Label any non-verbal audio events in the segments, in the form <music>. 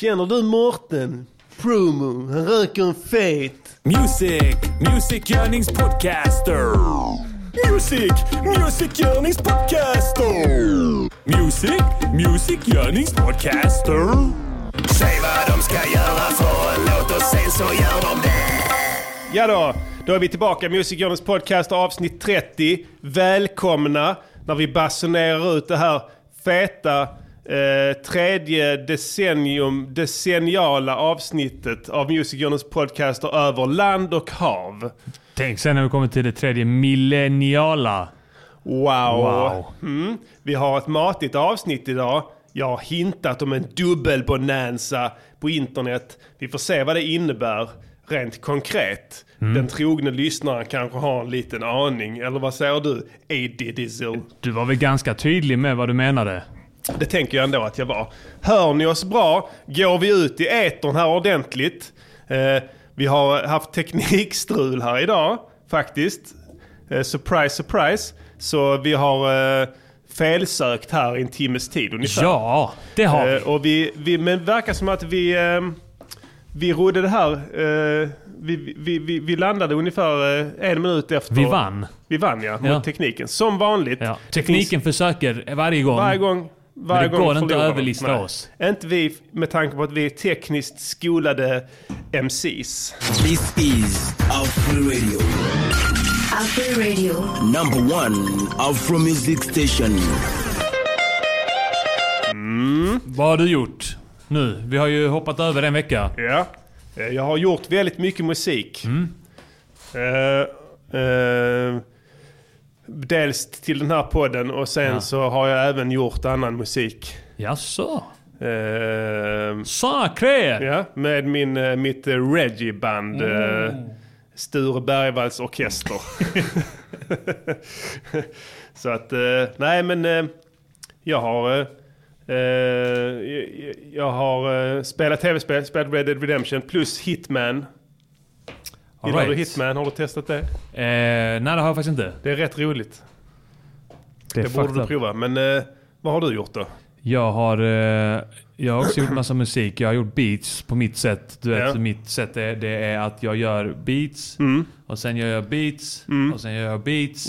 Känner du Morten? Promo, han röker en fet. Music, Music Yearnings Podcaster. Music, Music Yearnings Podcaster. Music, Music Yearnings Podcaster. Säg vad de ska göra för en låt och sen så gör de det. Ja då, då är vi tillbaka. Music Journeys podcast avsnitt 30. Välkomna när vi basunerar ut det här feta eh, tredje decennium, decenniala avsnittet av Music Journeys podcaster över land och hav. Tänk sen när vi kommer till det tredje millenniala. Wow. Wow. Mm. Vi har ett matigt avsnitt idag. Jag har hintat om en dubbelbonanza på internet. Vi får se vad det innebär rent konkret. Den trogne lyssnaren kanske har en liten aning. Eller vad säger du? Adidizzle. Du var väl ganska tydlig med vad du menade? Det tänker jag ändå att jag var. Hör ni oss bra? Går vi ut i etern här ordentligt? Eh, vi har haft teknikstrul här idag faktiskt. Eh, surprise, surprise. Så vi har eh, felsökt här i en timmes tid ungefär. Ja, det har vi. Eh, och vi, vi, men det verkar som att vi, eh, vi rodde det här. Eh, vi, vi, vi, vi landade ungefär eh, en minut efter. Vi vann. Vi vann ja, mot Ja. tekniken. Som vanligt. Ja. Det finns- Tekniken försöker varje gång. varje gång. Varje Mm. Men det gång går inte att förlorar de. överlista Nej. oss. Inte vi med tanke på att vi är tekniskt skolade MCs. This is Afro Radio, Afro Radio. number one Afro music station. Vad har du gjort nu? Vi har ju hoppat över en vecka. Ja. Eh, Jag har gjort väldigt mycket musik. Mm. Eh, eh, dels till den här podden och sen Ja. så har jag även gjort annan musik. Jaså? Eh, Sacré! ja, med min, eh, mitt eh, Reggie-band. eh, Sture Bergvalls orkester. <laughs> så att, eh, nej men eh, jag har, eh, eh, jag, jag har eh, spelat tv-spel, spelat Red Dead Redemption plus Hitman. All Gillar du right. Hitman? Har du testat det? Eh, nej, det har jag faktiskt inte. Det är rätt roligt. Det, borde du prova. Men eh, vad har du gjort då? Jag har, eh, jag har också gjort massa musik. Jag har gjort beats på mitt sätt. Du vet, Ja. Mm. mitt sätt är, det är att jag gör beats. Och sen gör jag beats. Och sen gör jag beats.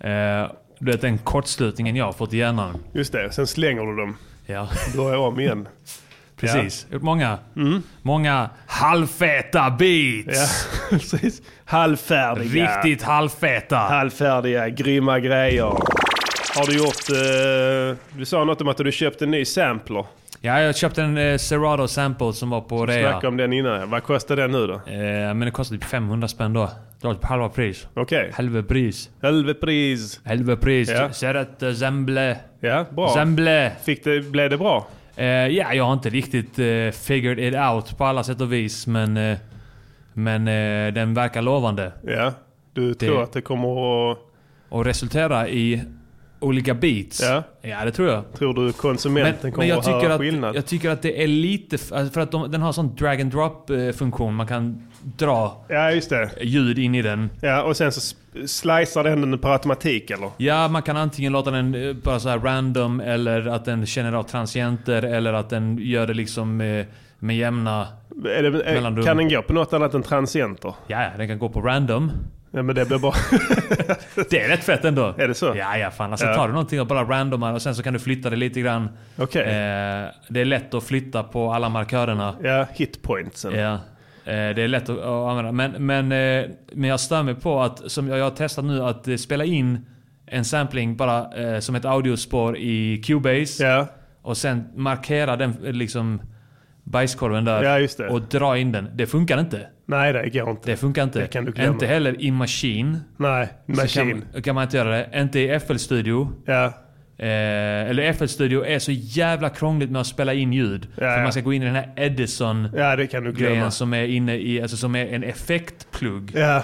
Eh, du vet den kortslutningen jag har fått i hjärnan. Just det, sen slänger du dem. Ja, Börjar om igen. precis. Gjort många, Mm. många halvfeta Ja, <laughs> beats. precis. Halvfärdiga. Riktigt halvfeta. Halvfärdiga, grymma grejer. Har du gjort... Eh, du sa något om att du köpte en ny sampler. Ja, jag köpte en eh, Serato sample som var på rea. Snacka om den innan. Vad kostar den nu då? Eh, men det kostade typ 500 spänn då. Det var typ halva pris. Okej. Halva pris. Halve pris. Halva pris. Ja. Serrat Zemble. Ja, bra. Zemble. Fick det, blev det bra? Eh, ja, jag har inte riktigt eh, figured it out på alla sätt och vis, men... eh, men eh, den verkar lovande. Ja. Du tror att det kommer att... Och resultera i olika beats. Ja. det tror jag. Tror du Men, konsumenten kommer men jag, att höra tycker skillnad? att, jag tycker att det är lite... f- alltså, För att de, den har sån drag and drop eh, funktion. Man kan dra Ja, just det. ljud in i den. Ja, och sen så sp- slicear den den per automatik eller? Ja, man kan antingen låta den eh, bara så här random eller att den känner av transienter eller att den gör det liksom eh, med jämna... Är det, Mellan är, rum. kan den gå på något annat än transienter? Ja, ja, den kan gå på random. Ja, men det blir bara... <laughs> Det är rätt fett ändå. Är det så? Ja, ja fan. Alltså Ja. tar du någonting och bara randomar och sen så kan du flytta det lite grann. Okej. Eh, det är lätt att flytta på alla markörerna. ja, hitpointsen. Ja. Eh, det är lätt att, att använda. Men, men, eh, men jag stör mig på att, som jag, jag har testat nu, att eh, spela in en sampling bara eh, som ett audiospår i Cubase. Ja. Och sen markera den eh, liksom bajskorven där. Ja, just det. Och dra in den. Det funkar inte. Nej, det går inte. Det funkar inte. Det kan du glömma. inte heller i Machine. Nej, Så maskin. Kan, kan man inte göra det. Inte i FL Studio. Ja, Eh, eller FL Studio är så jävla krångligt med att spela in ljud. ja. För man ska gå in i den här Edison-grejen ja, det kan du glömma. som är inne i, alltså som är en effektplugg. Ja,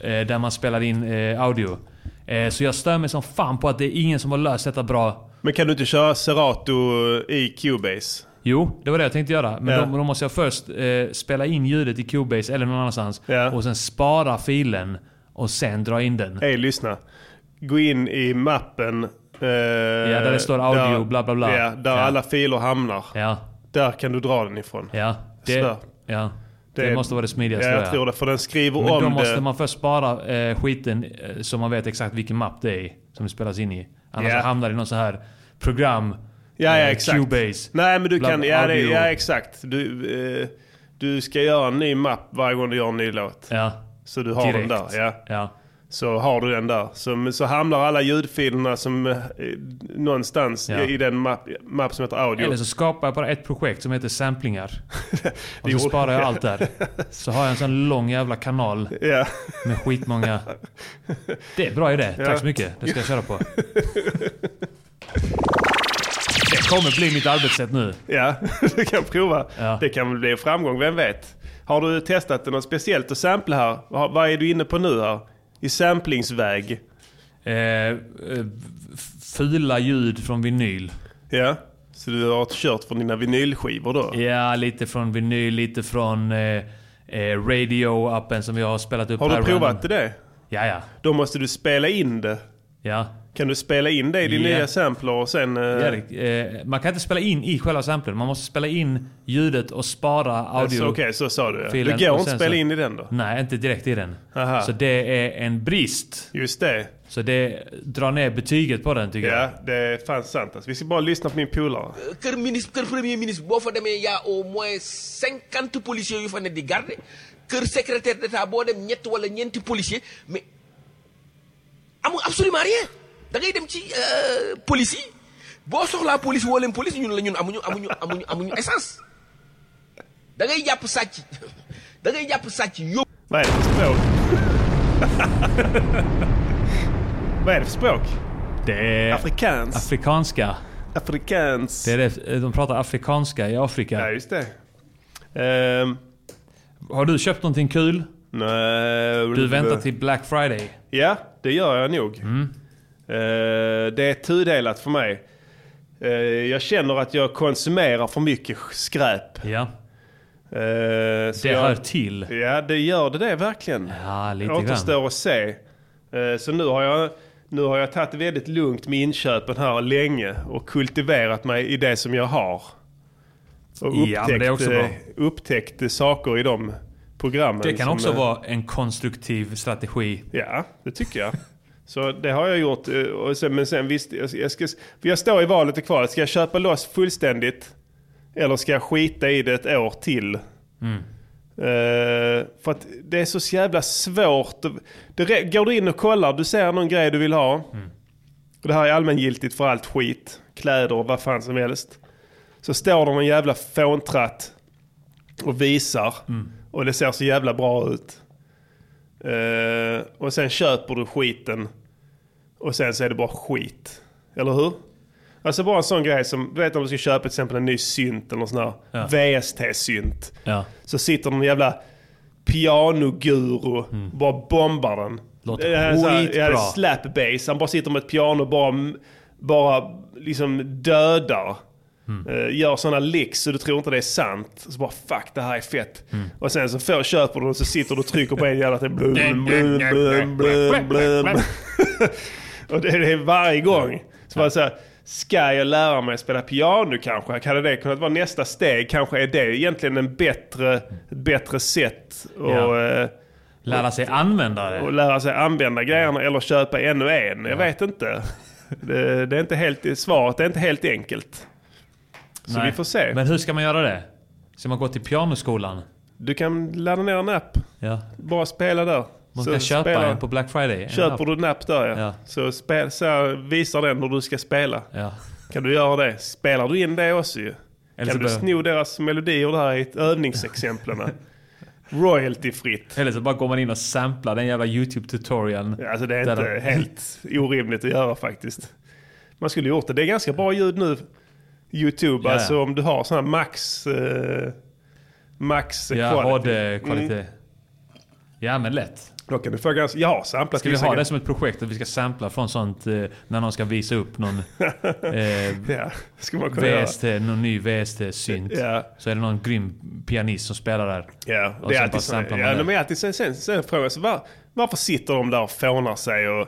Eh, där man spelar in eh, audio. Eh, så jag stör mig som fan på att det är ingen som har löst detta bra. men kan du inte köra Serato i Cubase? Jo, det var det jag tänkte göra. Men Ja. då, då måste jag först eh, spela in ljudet i Cubase eller någon annanstans. Ja. Och sen spara filen. Och sen dra in den. Hej, lyssna. Gå in i mappen. eh, där det står audio, bla, bla, bla. Ja, där Ja. alla filer hamnar. Ja. Där kan du dra den ifrån. Ja, det, Sådär. ja, det, Det- måste vara det smidigaste. Ja, jag tror tror det. För den skriver Men om då måste det. man först spara eh, skiten eh, så man vet exakt vilken mapp det är som det spelas in i. Annars Ja. så hamnar det i någon sån här program. Ja, ja eh, exakt. Cubase. Nej men du Bland kan, ja, det, audio. ja exakt. Du, eh, du ska göra en ny mapp varje gång du gör en ny låt. Ja, Så du har direkt. den där. Ja. ja. Så har du den där. Så, men så hamnar alla ljudfilerna som, eh, någonstans Ja. i, i den mapp, mapp som heter audio. Eller så skapar jag bara ett projekt som <laughs> heter samplingar. Och så gjorde- <laughs> sparar jag allt där. Så har jag en sån lång jävla kanal Ja. <laughs> med skitmånga... Det är bra idé. Tack så mycket. Det ska jag <laughs> köra på. Det kommer bli mitt arbetssätt nu. Ja, <laughs> du kan prova. Ja. Det kan väl bli en framgång, vem vet? Har du testat något speciellt att sampla här? Vad vad är du inne på nu här? I samplingsväg? Eh, eh, f- fula ljud från vinyl. Ja, så du har kört från dina vinylskivor då? Ja, lite från vinyl, lite från eh, eh, radio-appen som vi har spelat upp Har här du provat random. det? Ja, ja. Då måste du spela in det. ja. Kan du spela in det i din Ja. nya sampler och sen... eh, Erik, eh, man kan inte spela in i själva samplen. Man måste spela in ljudet och spara audio. så, Alltså, Okej, så sa du ja. Det går filen inte och att sen spela så- in i den då? Nej, inte direkt i den. Aha. Så det är en brist. Just det. Så det drar ner betyget på den tycker Ja, jag. det är fan sant alltså. Vi ska bara lyssna på min polare. kër ministre kër premier ministre boo fa demee y' a au moins cinquante policiers yu fa ne di garder kër secrétaire d'état boo dem ñett wala ñeenti policier mais amul absolument rien da ngay dem ci euh, police yi boo soxlaa police woo leen police ñun la ñun amuñu amuñu amuñu amuñu essence da ngay jàpp sàcc da ngay jàpp sàcc yóbbu. Vad är det för språk? <laughs> Vad är det för språk? Det är Afrikans. afrikanska. Afrikans. Det är det, de pratar afrikanska i Afrika. Ja, just det. Ehm, Har du köpt någonting kul? nej, Du väntar till Mm. Black Friday. Ja, det gör jag nog. Eh, det är tudelat för mig. Eh, jag känner att jag konsumerar för mycket skräp. Ja, Eh, så det jag, hör till. Ja, det gör det, det verkligen. Ja, lite Det grann. återstår att se. Eh, Så nu har, jag, nu har jag tagit väldigt lugnt med inköpen här länge och kultiverat mig i det som jag har. Och upptäckt, Ja, men det är också bra. eh, upptäckt eh, saker i de programmen. Det kan som, också eh, vara en konstruktiv strategi. Ja, det tycker jag. Så det har jag gjort. eh, Och sen, men sen visst, jag, jag, ska, för jag står i valet och kvalet. Ska jag köpa loss fullständigt? Eller ska jag skita i det ett år till? Eh, för att det är så jävla svårt. Det, re- går du in och kollar, du ser någon grej du vill ha. Och det här är allmängiltigt för allt skit. Kläder och vad fan som helst. Så står det någon jävla fåntratt och visar. Och det ser så jävla bra ut. Eh, och sen köper du skiten. Och sen så är det bara skit. Eller hur? Alltså bara en sån grej som, du vet om du ska köpa till exempel en ny synt eller någon sån här Ja. VST-synt. Ja. Så sitter någon jävla pianoguru och bara bombar den. Mm. Låter Det här är så här- skitbra. ja, det är Slap bass. Han bara sitter med ett piano och bara, bara liksom dödar. Mm. Eh, Gör sådana licks så du tror inte det är sant. Så bara fuck det här är fett. Mm. Och sen så får, köper du den så sitter du och trycker på en <laughs> jävla... till- Blum, blum, blum, blum, blum. Och det är det varje gång. Så man säger, ska jag lära mig att spela piano kanske? Hade det kunnat vara nästa steg? Kanske är det egentligen en bättre, ett bättre sätt att, Ja. eh, Lära sig använda att det. lära sig använda grejerna eller köpa ännu en? Jag vet inte. Det, det är inte helt, svaret är inte helt enkelt. Så Nej. vi får se. Men hur ska man göra det? Ska man gå till pianoskolan? Du kan ladda ner en app. Ja. Bara spela där. Man Så ska köpa spelar- en på Black Friday. En Köper app. du en app där ja. Ja. Så, spe, så visar den hur du ska spela. Ja. Kan du göra det? Spelar du in det också ju? Eller så kan du börjar- sno deras melodier där i <laughs> övningsexemplen? Royaltyfritt. Eller så bara går man in och samplar den jävla YouTube-tutorialen. Alltså det är Där inte de- helt orimligt att göra faktiskt. Man skulle gjort det. Det är ganska bra ljud nu. Youtube, Ja, ja. alltså om du har sån här max... Eh, max Ja, quality. Mm. HD-kvalitet. Ja, men lätt. Då kan du få ganska... Jag har samplat Ska vi vissa ha grejer. det som ett projekt att vi ska sampla från sånt eh, när någon ska visa <laughs> upp någon eh, Ja, ska man kunna göra. VST, någon ny VST-synt. Ja. Så är det någon grym pianist som spelar där. Ja, Och det är sen bara alltid så. samplar man Ja, det. de är alltid sen, sen, sen frågar jag så var, varför sitter de där och fånar sig och eh,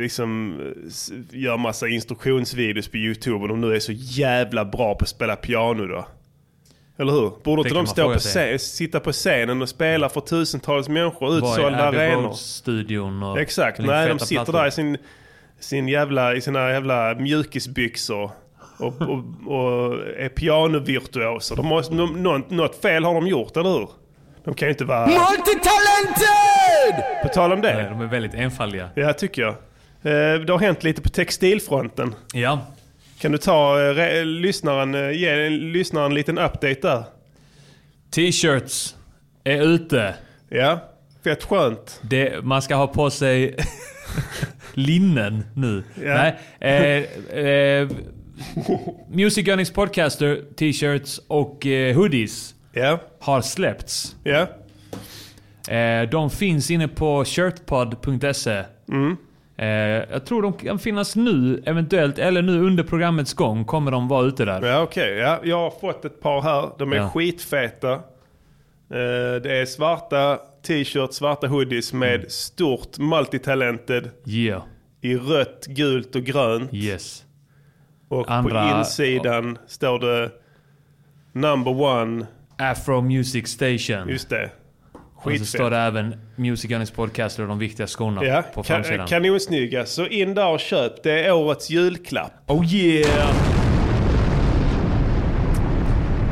liksom eh, s- gör massa instruktionsvideos på YouTube och de nu är så jävla bra på att spela piano då. Eller hur? Borde inte Det kan de man stå fråga på scen, sig. sitta på scenen och spela för tusentals människor Var utsålda är Abbey arenor? Road-studion? och- Exakt. och lite Nej, de feta sitter plattor. där i, sin, sin jävla, i sina jävla mjukisbyxor. Och, och, och är pianovirtuoser. De måste, de, något, något fel har de gjort, eller hur? De kan ju inte vara... På tal om Nej, det. de är väldigt enfaldiga. Ja, tycker jag. Eh, Det har hänt lite på textilfronten. Ja. Kan du ta eh, re, lyssnaren, eh, ge lyssnaren en liten update där? T-shirts är ute. Ja, fett skönt. Det, man ska ha på sig <laughs> linnen nu. Ja. Nej, eh, eh, Music Earnings Podcaster t-shirts och eh, hoodies Ja, har släppts. ja. Eh, de finns inne på shirtpod.se. Mm. Eh, jag tror de kan finnas nu eventuellt, eller nu under programmets gång kommer de vara ute där. Ja, okej. Ja, jag har fått ett par här. De är Ja. skitfeta. Eh, Det är svarta t-shirts, svarta hoodies Mm. med stort multitalented Yeah. i rött, gult och grönt. Yes. Och på Andra- insidan står det number one. Afro Music Station. Just det. Och så Skitfett. står det även Music Earnings Podcaster och de viktiga skorna Ja, på kan, framsidan. kanonsnygga. Så in där och köp. Det är årets julklapp. Oh yeah!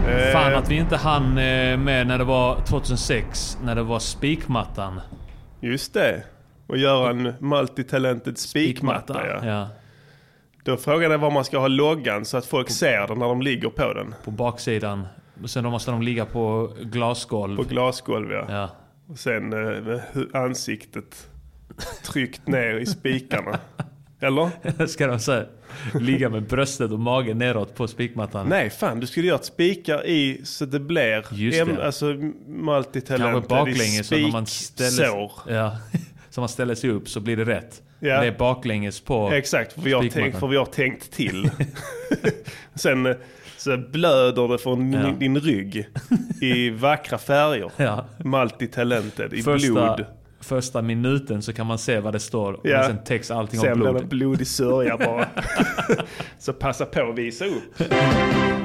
Eh. Fan att vi inte hann eh, med när det var 2006, när det var spikmattan. Just det. Och göra en multitalented spikmatta. Ja. ja. Då frågan är var man ska ha loggan så att folk ser den när de ligger på den. På baksidan. Och sen då måste de ligga på glasgolv. På glasgolv ja. ja. <laughs> Och sen eh, med hu- ansiktet tryckt ner i <laughs> spikarna. Eller? Ska de så här, ligga med bröstet och magen neråt på spikmattan? Nej fan, du skulle göra ett spikar i så det blir Just det. em- alltså, multitalented Kanske baklänges så när man ställer spiksår. ja. <laughs> Så man ställer sig upp så blir det rätt. Ja. Det är baklänges på... Exakt, för vi, har tänkt, Spikmattan. för vi har tänkt <laughs> till. <laughs> Sen eh, så blöder det från Ja. din rygg i vackra färger. <laughs> Ja. Multitalented, i första, blod. första minuten så kan man se vad det står. och Ja. Sen täcks allting av Sen blir det blod. blodig sörja <laughs> bara. så passa på att visa upp.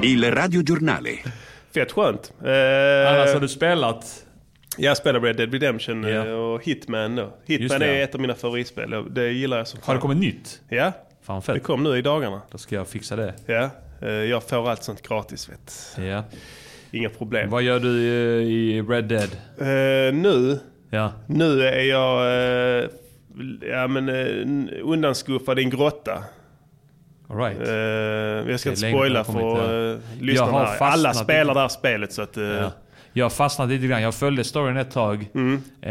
Il radiogiornale. Fett skönt. Eh, Annars har du spelat... Jag spelar Red Dead Redemption eh, Ja. och Hitman då. Hitman det, är ja. ett av mina favoritspel. Jag- Det gillar jag som Har fan. det kommit nytt? Ja, Fan det fett. kom nu i dagarna. Då ska jag fixa det. Ja. eh, Jag får allt sånt gratis vet. Ja. Inga problem. Vad gör du i, i Red Dead? Eh, nu Ja. Nu är jag eh, ja, men, eh, undanskuffad i en grotta. All right. Eh, jag ska är inte länge spoila sedan jag kommit, för eh, Jag har lyssnarna. här. Alla fastnat spelar lite. det här spelet så att... eh, Ja. Jag har fastnat lite grann. Jag följde storyn ett tag. Eh,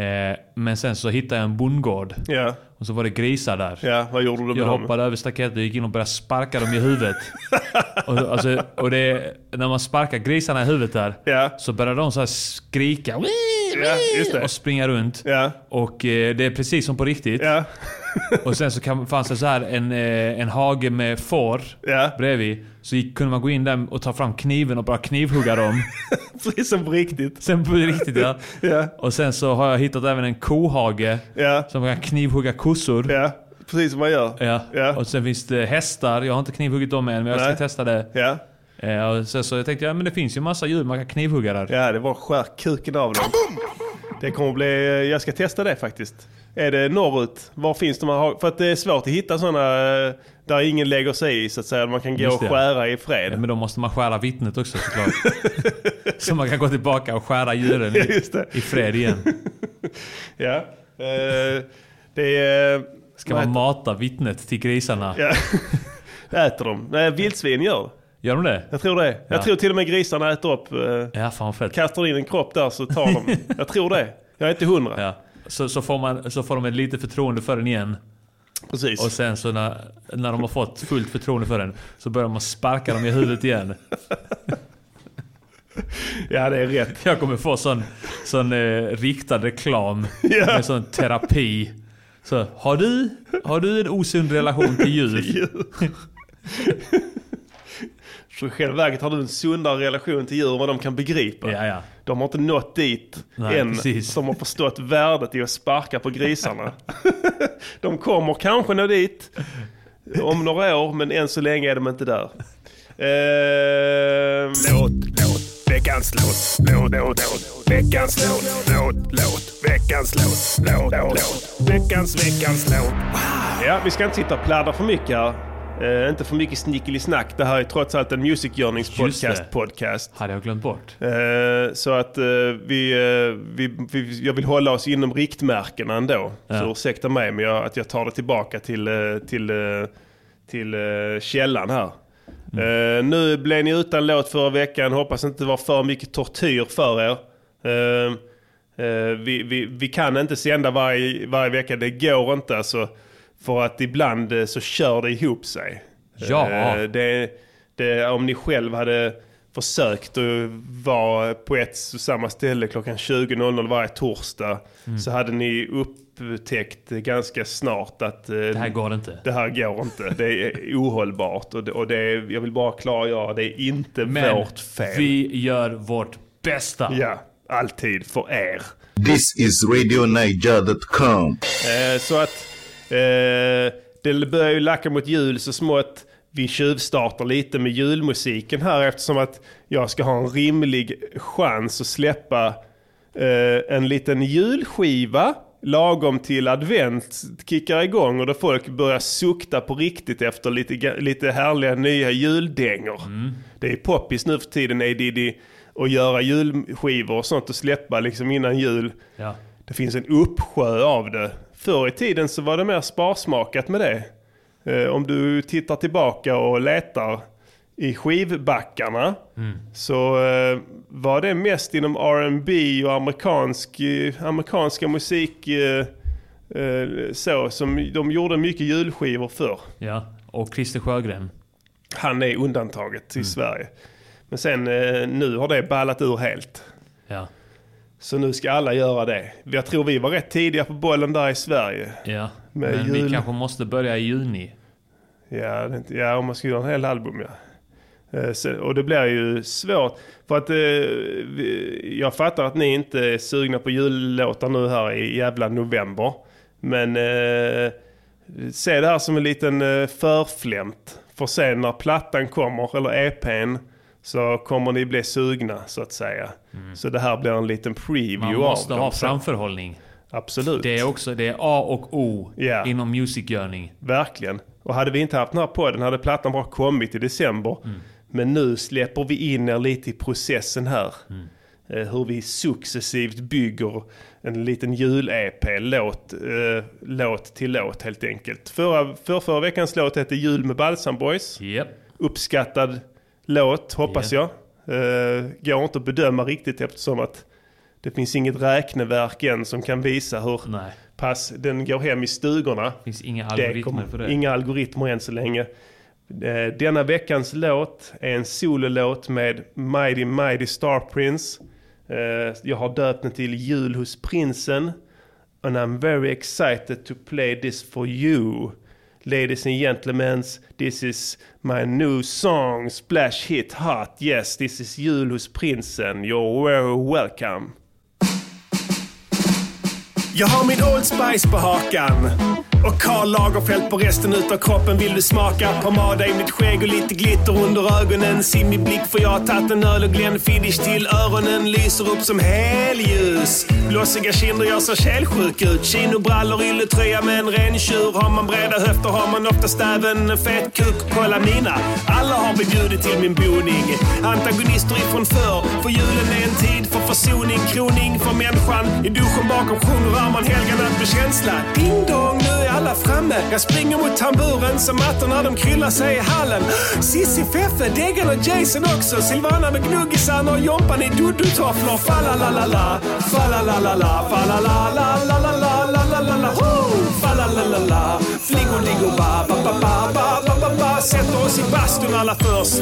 men sen så hittade jag en bondgård. Mm. ja. Och så var det grisar där. ja, vad gjorde du med Jag dem? <laughs> hoppade över staketet och gick in och började sparka dem i huvudet. och, alltså, och det, när man sparkar grisarna i huvudet där Ja. så börjar de så här skrika "Wii, Ja, wii", just det. och springa runt. Ja. Och eh, det är precis som på riktigt. Ja, <laughs> Och sen så kan, fanns det så här en, eh, en hage med får Ja. bredvid. Så gick, kunde man gå in där och ta fram kniven och bara knivhugga dem. <laughs> precis som på riktigt. sen på riktigt ja. <laughs> Ja. Och sen så har jag hittat även en kohage Ja. som kan knivhugga kossor. Ja, precis som man gör. Ja. Ja. Och sen finns det hästar. Jag har inte knivhuggit dem än, men jag ska Nej. testa det. Ja. Eh, och sen så jag tänkte jag, men det finns ju massa djur man kan knivhugga där. ja, det var skär kuken av dem. Det kommer bli... eh, Jag ska testa det faktiskt. Är det norrut? Var finns de här? För att det är svårt att hitta sådana där ingen lägger sig i så att säga. Man kan gå Just och det. skära i fred. Ja, men då måste man skära vittnet också såklart. <laughs> så man kan gå tillbaka och skära djuren i, Just det. i fred igen. Ja. Eh, det är... eh, Ska vad man mata vittnet till grisarna? heter- Ja. <laughs> äter de. Nej, vildsvin gör Gör de det? Jag tror det. Jag Ja. tror till och med grisarna äter upp. Eh, Ja, fan fett. kastar in en kropp där så tar <laughs> de. Jag tror det. Jag är inte hundra. Ja. Så, så, får man, så får de ett litet förtroende för den igen. Precis. Och sen så när, när de har fått fullt förtroende för den så börjar man sparka dem i huvudet igen. Ja, det är <laughs> rätt. <laughs> Jag kommer få sån, sån eh, riktad reklam Ja. med sån terapi. Så, har, du, har du en osund relation till djur? <laughs> Så i själva verket har du en sundare relation till djur än vad de kan begripa. Ja, ja. De har inte nått dit Nej, än. precis. De har förstått värdet i att sparka på grisarna. <laughs> de kommer kanske nå dit om några år, men än så länge är de inte där. Eh, Låt, låt, Veckans låt, låt, låt, låt. Veckans låt, låt, låt. Veckans låt, låt, låt. Veckans, veckans låt. Ja, vi ska inte sitta och pladda för mycket här. Eh, inte för mycket snickelisnack. Det här är trots allt en Music Yearnings Just det. podcast. podcast. Hade jag glömt bort. Eh, så att eh, vi, eh, vi, vi, jag vill hålla oss inom riktmärken ändå. Så ursäkta mig men jag, att jag tar det tillbaka till, eh, till, eh, till eh, källan här. Eh, nu blev ni utan låt förra veckan. Hoppas inte det var för mycket tortyr för er. Eh, eh, vi, vi, vi kan inte sända varje, varje vecka. Det går inte alltså. För att ibland eh, så kör det ihop sig. Ja. Eh, det, det, om ni själv hade försökt att vara på ett och samma ställe klockan 20.00 varje torsdag Mm. så hade ni upptäckt ganska snart att eh, Det här går inte. det här går inte. Det är ohållbart och, det, och det är, jag vill bara klargöra det är inte Men vårt fel. vi gör vårt bästa. Ja, alltid för er. This is RadioNiger.com. Eh, så att eh, det börjar ju lacka mot jul så smått. Vi tjuvstartar lite med julmusiken här eftersom att jag ska ha en rimlig chans att släppa eh, en liten julskiva lagom till advent kickar igång och då folk börjar sukta på riktigt efter lite, ga- lite härliga nya juldängor. Det är poppis nu för tiden, A.D.D. att göra julskivor och sånt och släppa liksom innan jul. Ja. Det finns en uppsjö av det. Förr i tiden så var det mer sparsmakat med det. Eh, om du tittar tillbaka och letar i skivbackarna så eh, var det mest inom R&B och amerikansk, eh, amerikanska musik eh, eh, så som de gjorde mycket julskivor förr. Ja. Och Christer Sjögren. Han är undantaget i Sverige. Men sen eh, nu har det ballat ur helt. Ja. Så nu ska alla göra det. Jag tror vi var rätt tidiga på bollen där i Sverige. ja. Med Men jul. vi kanske måste börja i juni. Ja, det är inte- ja om man ska göra en hel album ja. Eh, så- Och det blir ju svårt. För att eh, vi- jag fattar att ni inte är sugna på jullåtar nu här i jävla november. Men eh, se det här som en liten eh, förflämt. För sen när plattan kommer, eller EPn, så kommer ni bli sugna så att säga. Så det här blir en liten preview Mm. Man måste av ha dem. Så- framförhållning. Absolut. Det är också det är A och O Ja. inom musikgörning. Verkligen. Och hade vi inte haft den här podden hade plattan bara kommit i december. Men nu släpper vi in er lite i processen här. Eh, Hur vi successivt bygger en liten jul-EP, låt, eh, låt till låt helt enkelt. Förra, för förra veckans låt hette Jul med Balsam Boys. Japp. Uppskattad låt, hoppas jag. Eh, går inte att bedöma riktigt eftersom att det finns inget räkneverk än som kan visa hur Nej. pass den går hem i stugorna. Finns inga Det algoritmer kommer- för det. Inga algoritmer än så länge. Eh, Denna veckans låt är en sololåt med Mighty Mighty Star Prince. Eh, Jag har döpt den till Jul hos prinsen. And I'm very excited to play this for you. Ladies and gentlemen, this is my new song, splash hit hot. Yes, this is Jul hos prinsen. You're very welcome. Jag har min Old Spice på hakan och Karl Lagerfeld på resten utav kroppen. Vill du smaka? Pomada i mitt skägg och lite glitter under ögonen. Simmig blick för jag har tagit en öl och Glenfiddich till öronen. Lyser upp som helljus. Blossiga kinder, jag ser kälsjuk ut. Chinobrallor, ylletröja med en renntjur. Har man breda höfter har man oftast även en fet kuk. Kolla mina. Alla har vi bjudit till min boning. Antagonister ifrån förr. För julen är en tid för försoning. Kroning för människan. I duschen bakom sjunger Arman helganat med känsla. Ding dong, nu är alla framme. Jag springer mot tamburen som mattorna de kryllar sig i hallen. Sissi, Feffe, Deggan och Jason också. Silvana med gnuggisarna och Jompan i dudutofflor. Falla-la-la-la, falla-la-la-la, falla-la-la-la-la-la-la-la-la. Ho! Falla-la-la-la, flingo-dingo-ba, ba-ba-ba-ba-ba-ba. Sätter oss i bastun alla först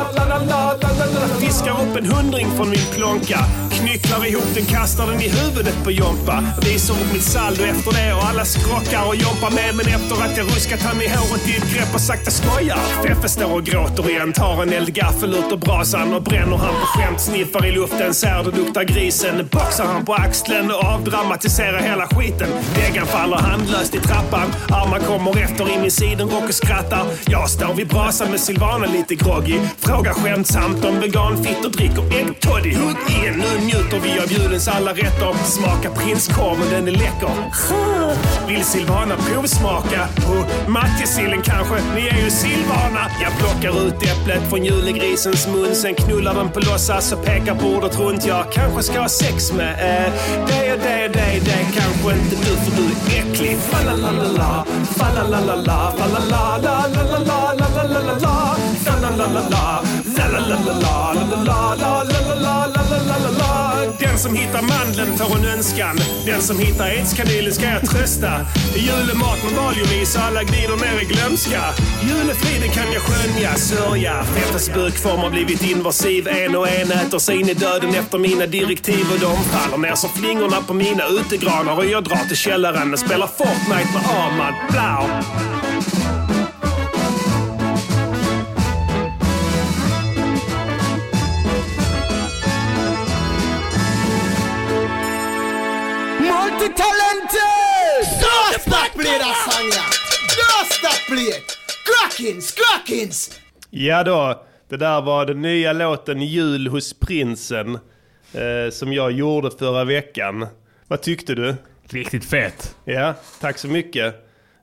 la-la-la-la-la-la-la-la-la-la-la-la-la. Fiskar upp en hundring från min plånka. Knycklar ihop den, kastar den i huvudet på Jompa. Visar upp mitt saldo efter det och alla skrockar och jompar med men efter att jag ruskat han i håret i ett grepp och sakta skojar. Feffe står och gråter igen, tar en eldgaffel ut ur brasan och bränner han på skämt. Sniffar i luften, ser det luktar grisen. Boxar han på axeln och avdramatiserar hela skiten. Väggen faller handlöst i trappan. Armar kommer efter i min sidenrock och skrattar. Jag står vid brasan med Silvana lite groggy. Frågar skämtsamt om veganfitt och dricker äggtoddy. Hugg in, nu njuter vi av julens alla rätter. Smaka prinskorven, den är läcker. Vill Silvana provsmaka på matjessillen kanske? Ni är ju Silvana! Jag plockar ut äpplet från julegrisens mun. Sen knullar den på låtsas och pekar bordet runt. Jag kanske ska ha sex med eh, det och det och det och det. Kanske inte du för du är äcklig. Fa-la-la-la-la, fa-la-la-la-la, fa-la-la-la-la-la-la-la-la-la-la. Fa-la-la-la-la, la-la-la-la-la-la-la-la-la-la-la-la-la-la. Den som hittar mandeln får en önskan. Den som hittar aidskanelen ska jag trösta. Julemat med valiumis och alla glider ner i glömska. Julefriden kan jag skönja, sörja. Fettets bukform har blivit invasiv. En och en äter sig in i döden efter mina direktiv. Och de faller ner som flingorna på mina utegranar. Och jag drar till källaren och spelar Fortnite med Armand. Blau! Multi-talented! Just that play that song, yeah. Just that play it. Crackins, crackins. Ja då, det där var den nya låten Jul hos prinsen. Eh, som jag gjorde förra veckan. Vad tyckte du? Riktigt fett. Ja, tack så mycket.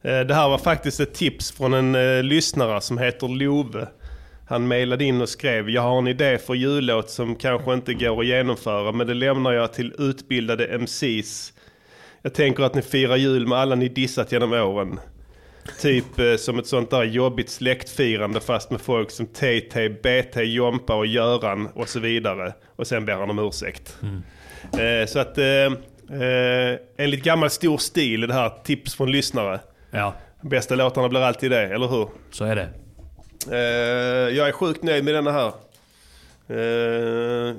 Eh, Det här var faktiskt ett tips från en eh, lyssnare som heter Love. Han mejlade in och skrev “Jag har en idé för jullåt som kanske inte går att genomföra men det lämnar jag till utbildade MCs. Jag tänker att ni firar jul med alla ni dissat genom åren. Typ eh, som ett sånt där jobbigt släktfirande fast med folk som TT, BT, Jompa och Göran och så vidare. Och sen ber han om ursäkt. Eh, så att eh, eh, enligt gammal stor stil är det här tips från lyssnare. Ja, Bästa låtarna blir alltid det, eller hur? så är det. Eh, jag är sjukt nöjd med denna här. Eh,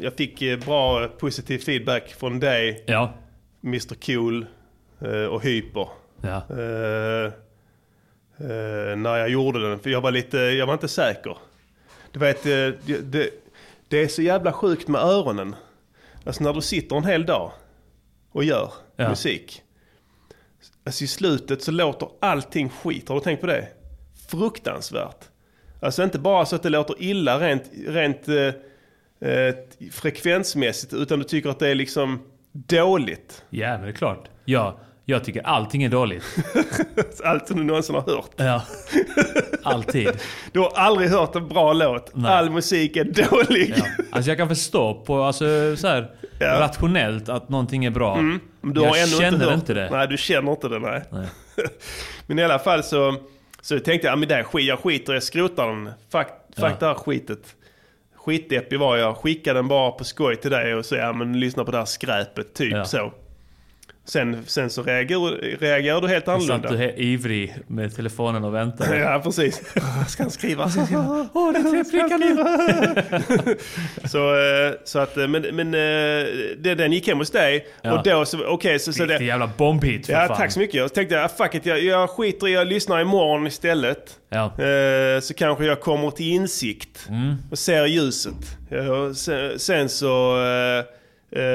jag fick eh, bra eh, positiv feedback från dig, Ja. Mr Cool eh, och Hyper. Ja. Eh, eh, när jag gjorde den, för jag var lite, jag var inte säker. Du vet, eh, det, det, det är så jävla sjukt med öronen. Alltså när du sitter en hel dag och gör Ja. musik. Alltså i slutet så låter allting skit, har du tänkt på det? Fruktansvärt. Alltså inte bara så att det låter illa rent, rent eh, eh, frekvensmässigt, utan du tycker att det är liksom dåligt. Ja, men det är klart. Ja, jag tycker allting <laughs> är dåligt. Allt som du någonsin har hört. Ja. Alltid. Du har aldrig hört en bra låt. Nej. All musik är dålig. Ja. Alltså jag kan förstå på, alltså så här, Ja. Mm. rationellt att någonting är bra. <laughs> Men du jag har ändå känner inte, inte, hört. det. Nej, du känner inte det. Nej. Nej. <laughs> men i alla fall så, så tänkte jag, ja, men det här skit, jag skiter jag skrotar den. Fuck, fuck Ja. det här skitet. Skitdeppig var jag. Skickade den bara på skoj till dig och så, ja men lyssna på det här skräpet, typ Ja. så. Sen, sen så reagerar, reagerar du helt Satt annorlunda. du helt ivrig med telefonen och väntade. Ja, precis. <laughs> Vad ska han skriva? Vad ska han skriva? Åh, det är tre prickar nu! Så, eh, så att, eh, men, men eh, det- den gick hem hos dig. Ja. Och då så, okej, så, så Riktig det... jävla bombhit för Ja, fan. tack så mycket. Jag tänkte, ah, fuck it, jag, jag skiter i, jag lyssnar imorgon istället. Ja. Mm. Eh, så kanske jag kommer till insikt och ser ljuset. Ja, och sen, sen så eh, eh,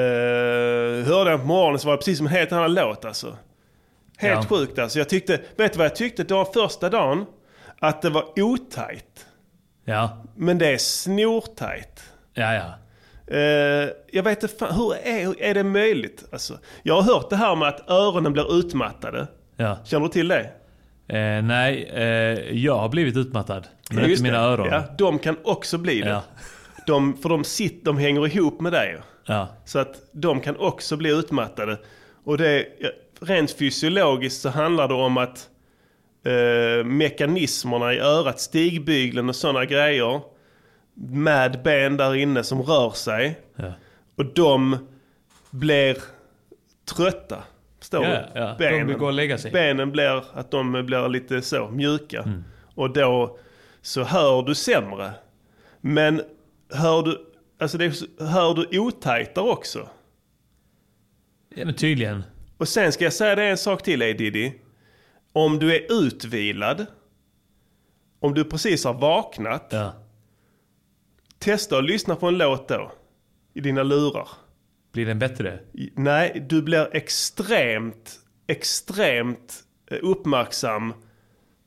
hörde jag på morgonen så var det precis som en helt annan låt alltså. Helt Ja. sjukt alltså. Jag tyckte, vet du vad jag tyckte då första dagen? Att det var otajt. Ja, Men det är snortajt. ja, ja. Eh, jag vet inte, fan, hur är, hur är det möjligt? Alltså, jag har hört det här med att öronen blir utmattade. Ja. Känner du till det? Eh, nej, eh, jag har blivit utmattad. Men Ja, inte just mina det. öron. Ja, de kan också bli det. Ja. De, för de, sit, de hänger ihop med dig. ju. Ja. Så att de kan också bli utmattade. Och det, ja, rent fysiologiskt så handlar det om att eh, mekanismerna i örat, stigbygeln och sådana grejer med ben där inne som rör sig. Ja. Och de blir trötta. Förstår Ja, du? ja. De vill gå och lägga sig. Mm. Benen blir, att de blir lite så mjuka. Och då så hör du sämre. Men hör du, alltså det, är så- hör du otajtare också. Ja, men tydligen. Och sen ska jag säga det en sak till dig Diddy. Om du är utvilad, om du precis har vaknat, Ja. testa att lyssna på en låt då. I dina lurar. Blir den bättre? I- Nej, du blir extremt, extremt eh, uppmärksam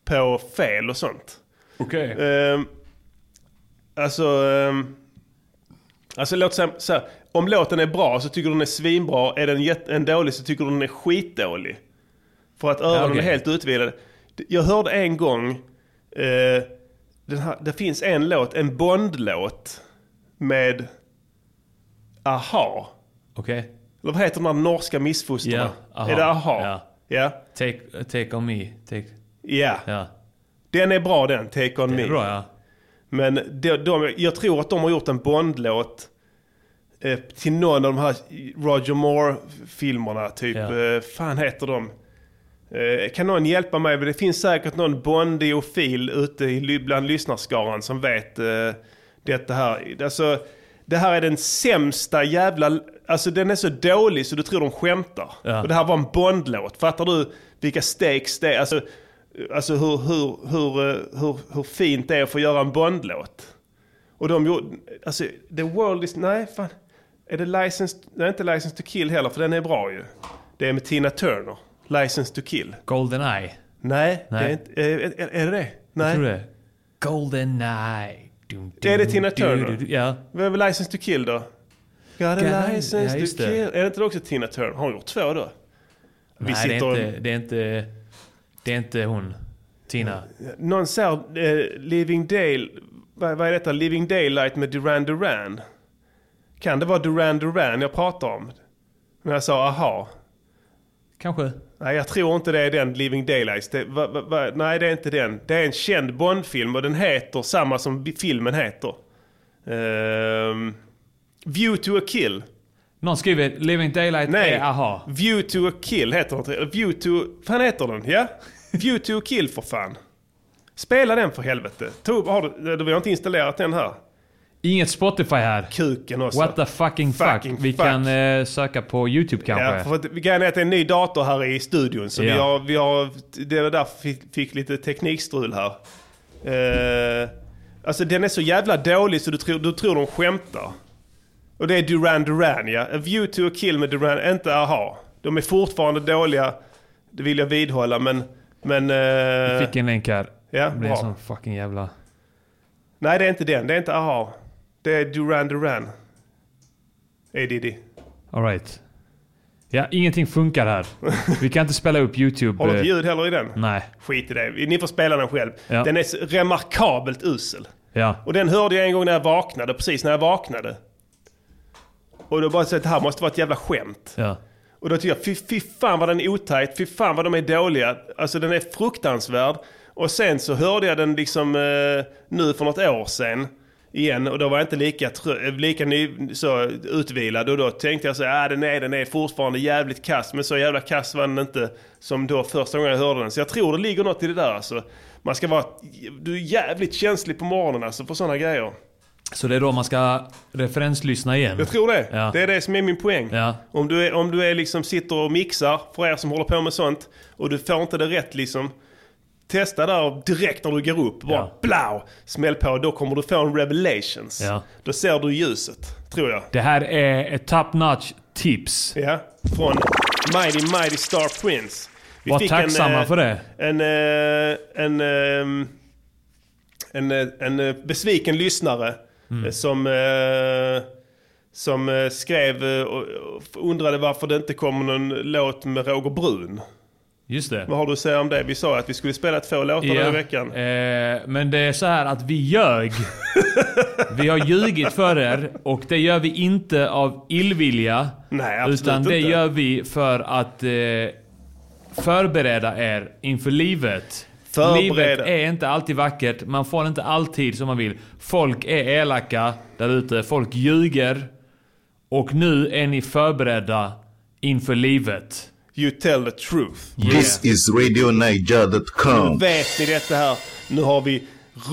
på fel och sånt. Okej. Ehm, alltså, ehm, alltså låt säga så här, om låten är bra så tycker du den är svinbra, är den jätte, en dålig så tycker du den är skitdålig. För att öronen Ja, okej. är helt utvilade. D- Jag hörde en gång, eh, den här, det finns en låt, en Bond-låt med Aha. Okej. Eller vad heter de här norska missfostrarna? Ja, aha. Är det aha? Ja. Ja. Take, take on me. Take, Ja. ja. Den är bra den, Take On Det Me. är bra ja. Men de, de, jag tror att de har gjort en Bond-låt eh, till någon av de här Roger Moore-filmerna. Typ, Ja. eh, fan heter de? Eh, kan någon hjälpa mig? Det finns säkert någon bondiofil ute i, ly- bland lyssnarskaran som vet eh, detta här. Alltså, det här är den sämsta jävla... Alltså den är så dålig så du tror de skämtar. Ja. Och det här var en Bond-låt. Fattar du vilka stakes det är? Alltså, alltså hur, hur, hur, eh, hur, hur fint det är att få göra en Bond-låt. Och de gjorde... Alltså, the world is... Nej, fan. Är det License... Det är inte License to kill heller, för den är bra ju. Det är med Tina Turner. License to kill. Golden Eye. Nej, Nej. Det är, inte, är, är, är det det? Nej. Tror du det? Golden Eye. Dum, Är det dum, Tina du, Turner? du, du. Ja. Vad är väl License to kill då? Got a Ja, license ja, just to det. kill. Är det inte också Tina Turner? Har hon gjort två då? Vi Nej, det sitter- är, inte, det, är inte, det är inte hon. Tina. Någon ser eh, Living Dale... Vad, vad är detta? Living Daylight med Duran Duran? Kan det vara Duran Duran jag pratar om? När jag sa aha. Kanske. Nej, jag tror inte det är den Living Daylights. Det, va, va, va, nej, det är inte den. Det är en känd Bondfilm och den heter samma som bi- filmen heter. Ehm, View to a kill. Någon skriver Living Daylight Nej, är Eh, aha. View to a kill heter den. Eller View to... Fan heter den, ja? View to a kill för fan. Spela den för helvete. Tob, har du, du har inte installerat den här? Inget Spotify här. Kuken också. What the fucking, Fucking fuck. Vi fuck. kan eh, söka på YouTube Ja, kanske. för att, grejen är att det är en ny dator här i studion. Så Ja. vi har, vi har, det var därför vi fick lite teknikstrul här. Eh, alltså den är så jävla dålig så du tror, du tror de skämtar. Och det är Duran Duran ja. A view to a kill med Duran, inte aha. De är fortfarande dåliga, det vill jag vidhålla men... men eh, Fick en länk här. ja, Det blir bra. en sån fucking jävla... Nej det är inte den, det är inte aha. Det är Duran Duran. Hey Diddy. Alright. Ja, ingenting <laughs> funkar här. Vi kan inte spela upp YouTube. Har du eh, ett ljud heller i den? Nej. Skit i det. Ni får spela den själv. Ja. Den är så remarkabelt usel. Ja. Och den hörde jag en gång när jag vaknade, precis när jag vaknade. Och då bara så att det här måste vara ett jävla skämt. Ja. Och då tycker jag, fy, fy fan vad den är otajt, fy fan vad de är dåliga. Alltså den är fruktansvärd. Och sen så hörde jag den liksom eh, nu för något år sedan igen och då var jag inte lika, trö- eh, lika ny, så utvilad och då tänkte jag så här, ah, den, är, den är fortfarande jävligt kass men så jävla kass var den inte som då första gången jag hörde den. Så jag tror det ligger något i det där alltså. Man ska vara, du är jävligt känslig på morgonen alltså för sådana grejer. Så det är då man ska referenslyssna igen? Jag tror det. Ja. Det är det som är min poäng. Ja. Om du, är, om du är liksom sitter och mixar, för er som håller på med sånt, och du får inte det rätt liksom. Testa där direkt när du går upp. Bara Ja. blau! Smäll på, då kommer du få en revelations. Ja. Då ser du ljuset, tror jag. Det här är ett top notch tips. Ja. Från Mighty Mighty Star Prince. Vi Var tacksamma eh, för det. En, eh, en, ehm, Mm. en, eh, en, eh, besviken lyssnare eh, som, eh, som eh, skrev eh, och och undrade varför det inte kommer någon låt med Roger Brun. Just det. Vad har du att säga om det? Vi sa att vi skulle spela två låtar den här veckan. Eh, men det är så här att vi ljög. vi har ljugit för er och det gör vi inte av illvilja. Nej, absolut Utan det inte. gör vi för att eh, förbereda er inför livet. Förbereda. Livet är inte alltid vackert. Man får inte alltid som man vill. Folk är elaka där ute. Folk ljuger. Och nu är ni förberedda inför livet. You tell the truth. Yeah. This is RadioNiger.com. Vet ni detta här? Nu har vi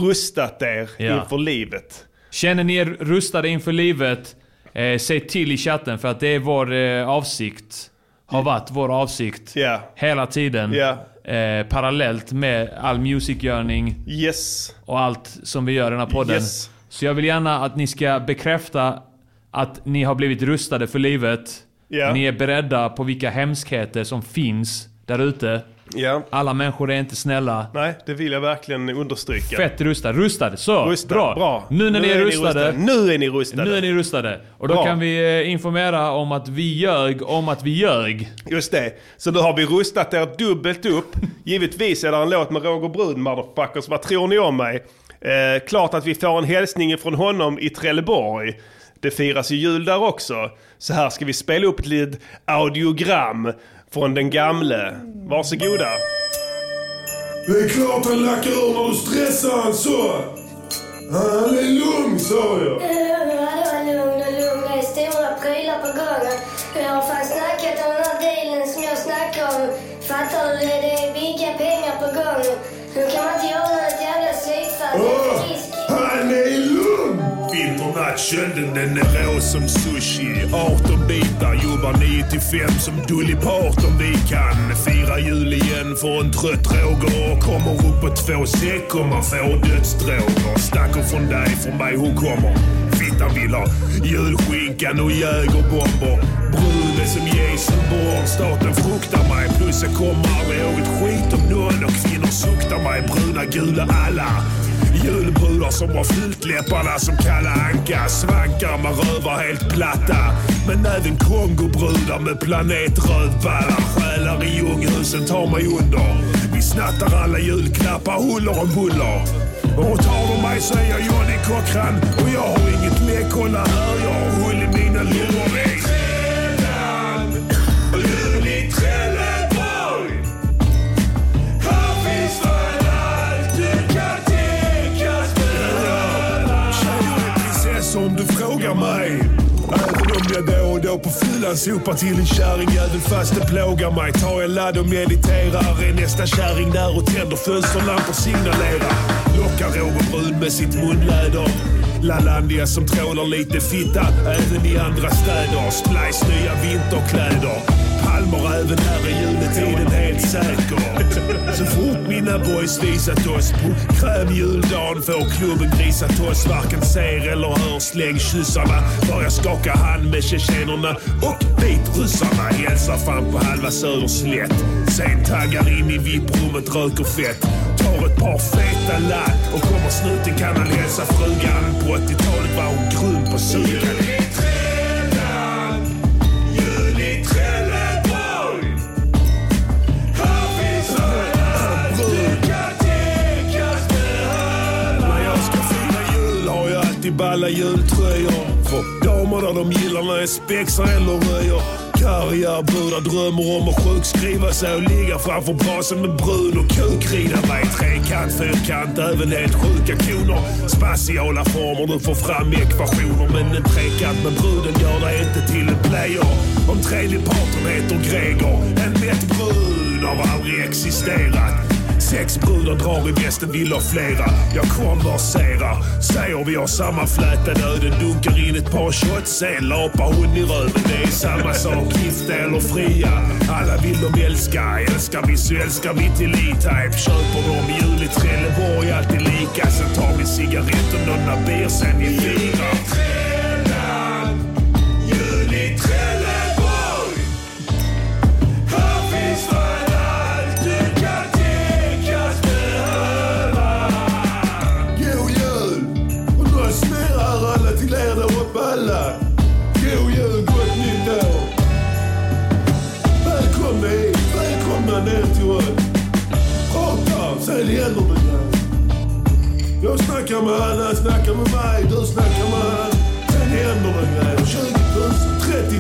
rustat er Ja. inför livet. Känner ni er rustade inför livet? Eh, säg till i chatten för att det är vår eh, avsikt. Har varit vår avsikt. Ja. Hela tiden. Ja. Eh, parallellt med all musicgörning Yes. och allt som vi gör i den här podden. Yes. Så jag vill gärna att ni ska bekräfta att ni har blivit rustade för livet. Ja. Ni är beredda på vilka hemskheter som finns där ute. Ja. Alla människor är inte snälla. Nej, det vill jag verkligen understryka. Fett rustade. Rustade. Så. Rustade. Bra. Bra. Nu när ni är rustade. Nu är ni rustade. Nu är ni rustade. Och då Bra. kan vi eh, informera om att vi ljög om att vi ljög. Just det. Så nu har vi rustat er dubbelt upp. Givetvis är det en låt med Roger Brun, motherfuckers. Vad tror ni om mig? Eh, klart att vi får en hälsning från honom i Trelleborg. Det firas ju jul där också. Så här ska vi spela upp ett litet audiogram från den gamle. Varsågoda. Det är klart han lackar ur när du stressar han så. Han är lugn sa jag. Vadå lugna, lugna? Det är stora prylar på gången. Jag har fan snackat om den här dealen som jag snackar om. Fattar du? Det det är vilka pengar på gång nu. Nu kan man inte göra något jävla psykfall. Det är Åh, frisk. han är lugn! Internet kölden den är rå som sushi 18 bitar jobbar 9 till 5 som dullipart om vi kan Fira jul igen för en trött Roger Kommer upp på två säck och man får dödsdroger Snackar från dig, från mig, hon kommer Fittan vill ha julskinkan och jägerbomber Brun är som Jason Staten fruktar mig Plus jag kommer aldrig ihåg ett skit om någon och kvinnor suktar mig Bruna, gula, alla Julbrudar som har fyllt läpparna som Kalle Anka. Svankar med rövar helt platta. Men även Kongobrudar med planetrövballar. Själar i djungelhusen tar mig under. Vi snattar alla julklappar huller om buller. Och tar de mig så är jag Johnny Cochran. Och jag har inget läck, kolla här. Jag har hull i mina lungor. Det är Trällan. Jul i Trelleborg. Här finns väl allt du kan tänkas behöva. Tjejer är prinsessor om du frågar mig. Även om jag då och då på fyllan sopar till en kärringjävel fast det plågar mig. Tar jag ladd och mediterar är nästa kärring där och tänder fönsterlampor signalerar. Lockar Roger Brun med sitt munläder. Lalandia som trålar lite fitta även i andra städer. Splice nya vinterkläder. Palmer även här i juletiden helt säker. Så fort mina boys visat oss på krämjuldagen får klubben grisat oss. Varken ser eller hör. Släng kyssarna för jag skakar hand med tjetjenerna och vitryssarna. Hälsar fram på halva Söderslätt. Sen taggar in i VIP-rummet, röker fett. Tar ett par feta ladd och kommer snuten kan han hälsa frugan. På 80-talet var hon grym på sugan. Balla jultröjor för damer där de gillar när jag spexar eller röjer. Karriärbudar drömmer om att sjukskriva sig och ligga framför brasan med brun och kukrida mig. Trekant, fyrkant, även helt sjuka koner. Spatiala former, du får fram ekvationer. Men en trekant med bruden gör dig inte till en player. Om tredje parten heter Gregor, en lätt brud har aldrig existerat. Sex brudar drar i västen, vill ha flera. Jag konverserar, säger vi har samma flätade öden. Dunkar in ett par shots, sen lapar hon i röven. Det är samma sak, gifta eller fria. Alla vill de älska, älskar vi så älskar vi till E-Type. Köper de jul i Trelleborg, alltid lika. Sen tar vi cigaretter, några beer, sen vi firar. Jul i Trelleborg här finns väl allt du kan tänkas behöva. God jul! Och nu smärar alla till er där uppe alla. väl händerna grabbar. Jag snackar med han, han snackar med mig, du snackar med han. Sen händer det grejer. 20 000, 30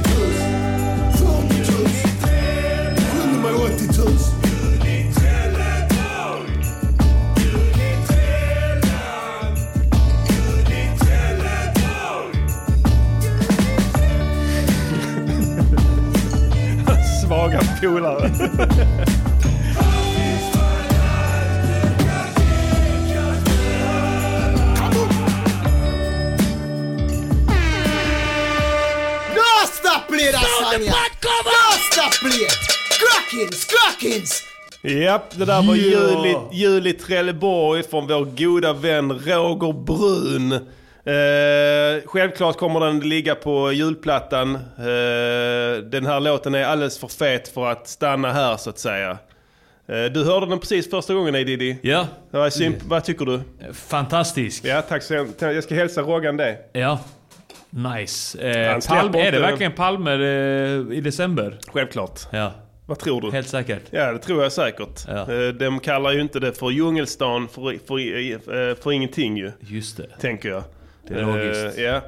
000, 40 000. Skyll mig 80 000. Svaga polare. No stop play that song, yeah. No stop play. Crackins, crackins. Japp, det där Ja. var Juli, Juli Trelleborg från vår goda vän Roger Brun. Eh, självklart kommer den ligga på julplattan. Eh, den här låten är alldeles för fet för att stanna här så att säga. Eh, du hörde den precis första gången Edidi. Ja. Det var symp- Vad tycker du? Fantastisk. Ja, tack så hemskt. Jag ska hälsa Roggan det. Ja. Nice. Eh, Han släpper Palme, är inte- det verkligen Palme eh, i december? Självklart. Ja. Vad tror du? Helt säkert. Ja, det tror jag säkert. Ja. Eh, De kallar ju inte det för djungelstan för, för, eh, för ingenting ju. Just det. Tänker jag. Det är logiskt. Eh, ja.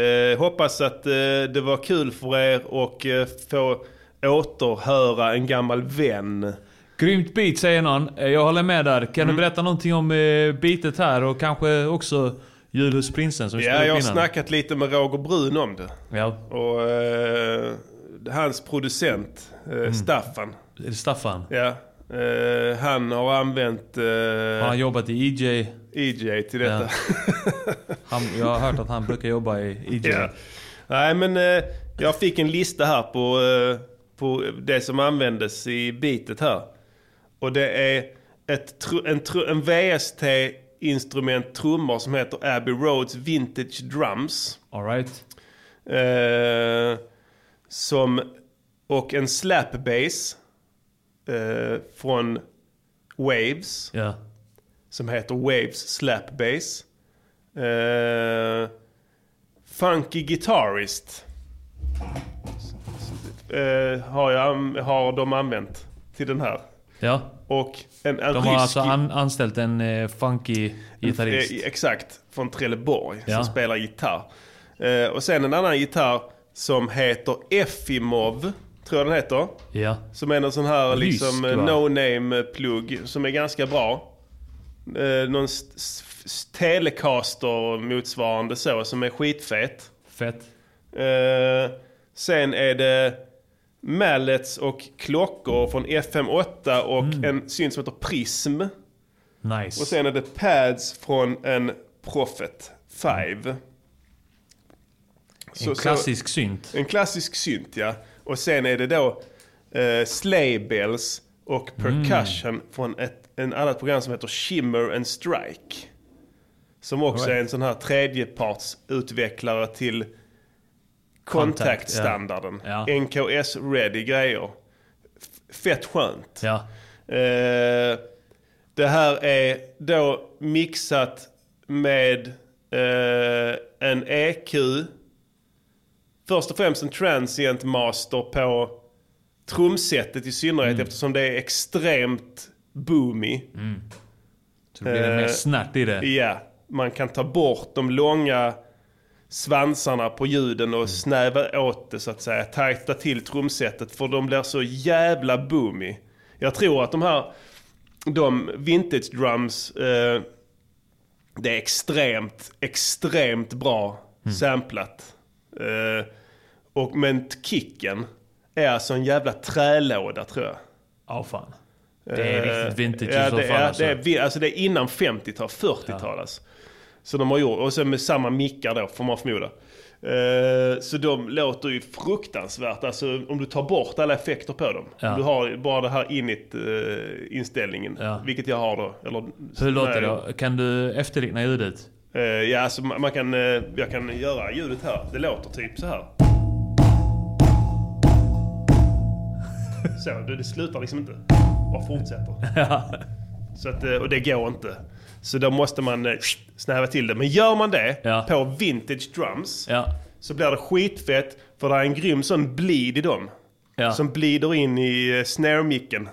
Eh, hoppas att eh, det var kul för er och eh, få återhöra en gammal vän. Grymt beat säger någon. Eh, Jag håller med där. Mm. Kan du berätta någonting om eh, beatet här och kanske också Julhus Prinsen som vi Ja, spelade jag upp har innan? snackat lite med Roger Brun om det. Ja. Och eh, hans producent, eh, Mm. Staffan. Är det Staffan? Ja. Eh, han har använt Har han eh, jobbat i E EJ? EJ till detta. <laughs> Han, jag har hört att han brukar jobba i E EJ. Ja. Nej men eh, jag fick en lista här på, eh, på det som användes i bitet här. Och det är ett, tru- en, tru- en VST-instrument trummor som heter Abbey Roads Vintage Drums. All right. Eh, som, och en slap bass eh, från Waves Ja. som heter Waves Slap Bass. Eh, funky Guitarist eh, har, jag, an- har de använt till den här. ja. Och en, en De har rysk... alltså an, anställt en eh, funky gitarrist. Eh, Exakt, från Trelleborg Ja. som spelar gitarr. Eh, och sen en annan gitarr som heter Efimov, tror jag den heter. Ja. Som är någon sån här Rysk, liksom va? no-name-plugg som är ganska bra. Eh, någon s- s- telecaster motsvarande så som är skitfet. Fett. Eh, sen är det mallets och klockor från FM8 och Mm. en synt som heter Prism. Nice. Och sen är det pads från en Prophet 5. en klassisk synt. Så, en klassisk synt ja. Och sen är det då eh, sleigh bells och percussion Mm. från ett en annat program som heter Shimmer and Strike. Som också är en sån här tredjepartsutvecklare till kontaktstandarden. ja. NKS-ready grejer. F- fett skönt. Ja. Eh, det här är då mixat med eh, en EQ. Först och främst en transient master på trumsetet i synnerhet eftersom det är extremt boomy. Så det blir Eh, det mer snärt i det. Ja, man kan ta bort de långa svansarna på ljuden och snäva åt det så att säga. Tajta till trumsetet för de blir så jävla boomy. Jag tror att de här, de vintage drums, eh, det är extremt, extremt bra samplat. Eh, och, men kicken är alltså en jävla trälåda tror jag. Ja, fan. Det är riktigt vintage Eh, Ja, i så det fall är, alltså. det, är, vi- alltså det är innan 50-tal, 40-tal alltså. Så de har gjort, och sen med samma mickar då får man förmoda. Eh, Så de låter ju fruktansvärt, alltså om du tar bort alla effekter på dem. Ja. Du har bara det här init eh, inställningen, Ja. vilket jag har då. Eller, Hur låter det då? Kan du efterlikna ljudet? <laughs> Eh, Ja, så man man kan, eh, jag kan göra ljudet här. Det låter typ så <laughs> här. Så, det, det slutar liksom inte. Bara fortsätter. Så att, eh, och det går inte. Så då måste man eh, snäva till det. Men gör man det Ja. på vintage drums Ja. så blir det skitfett. För det är en grym sån bleed i dem. Ja. Som blider in i eh, snare-micken.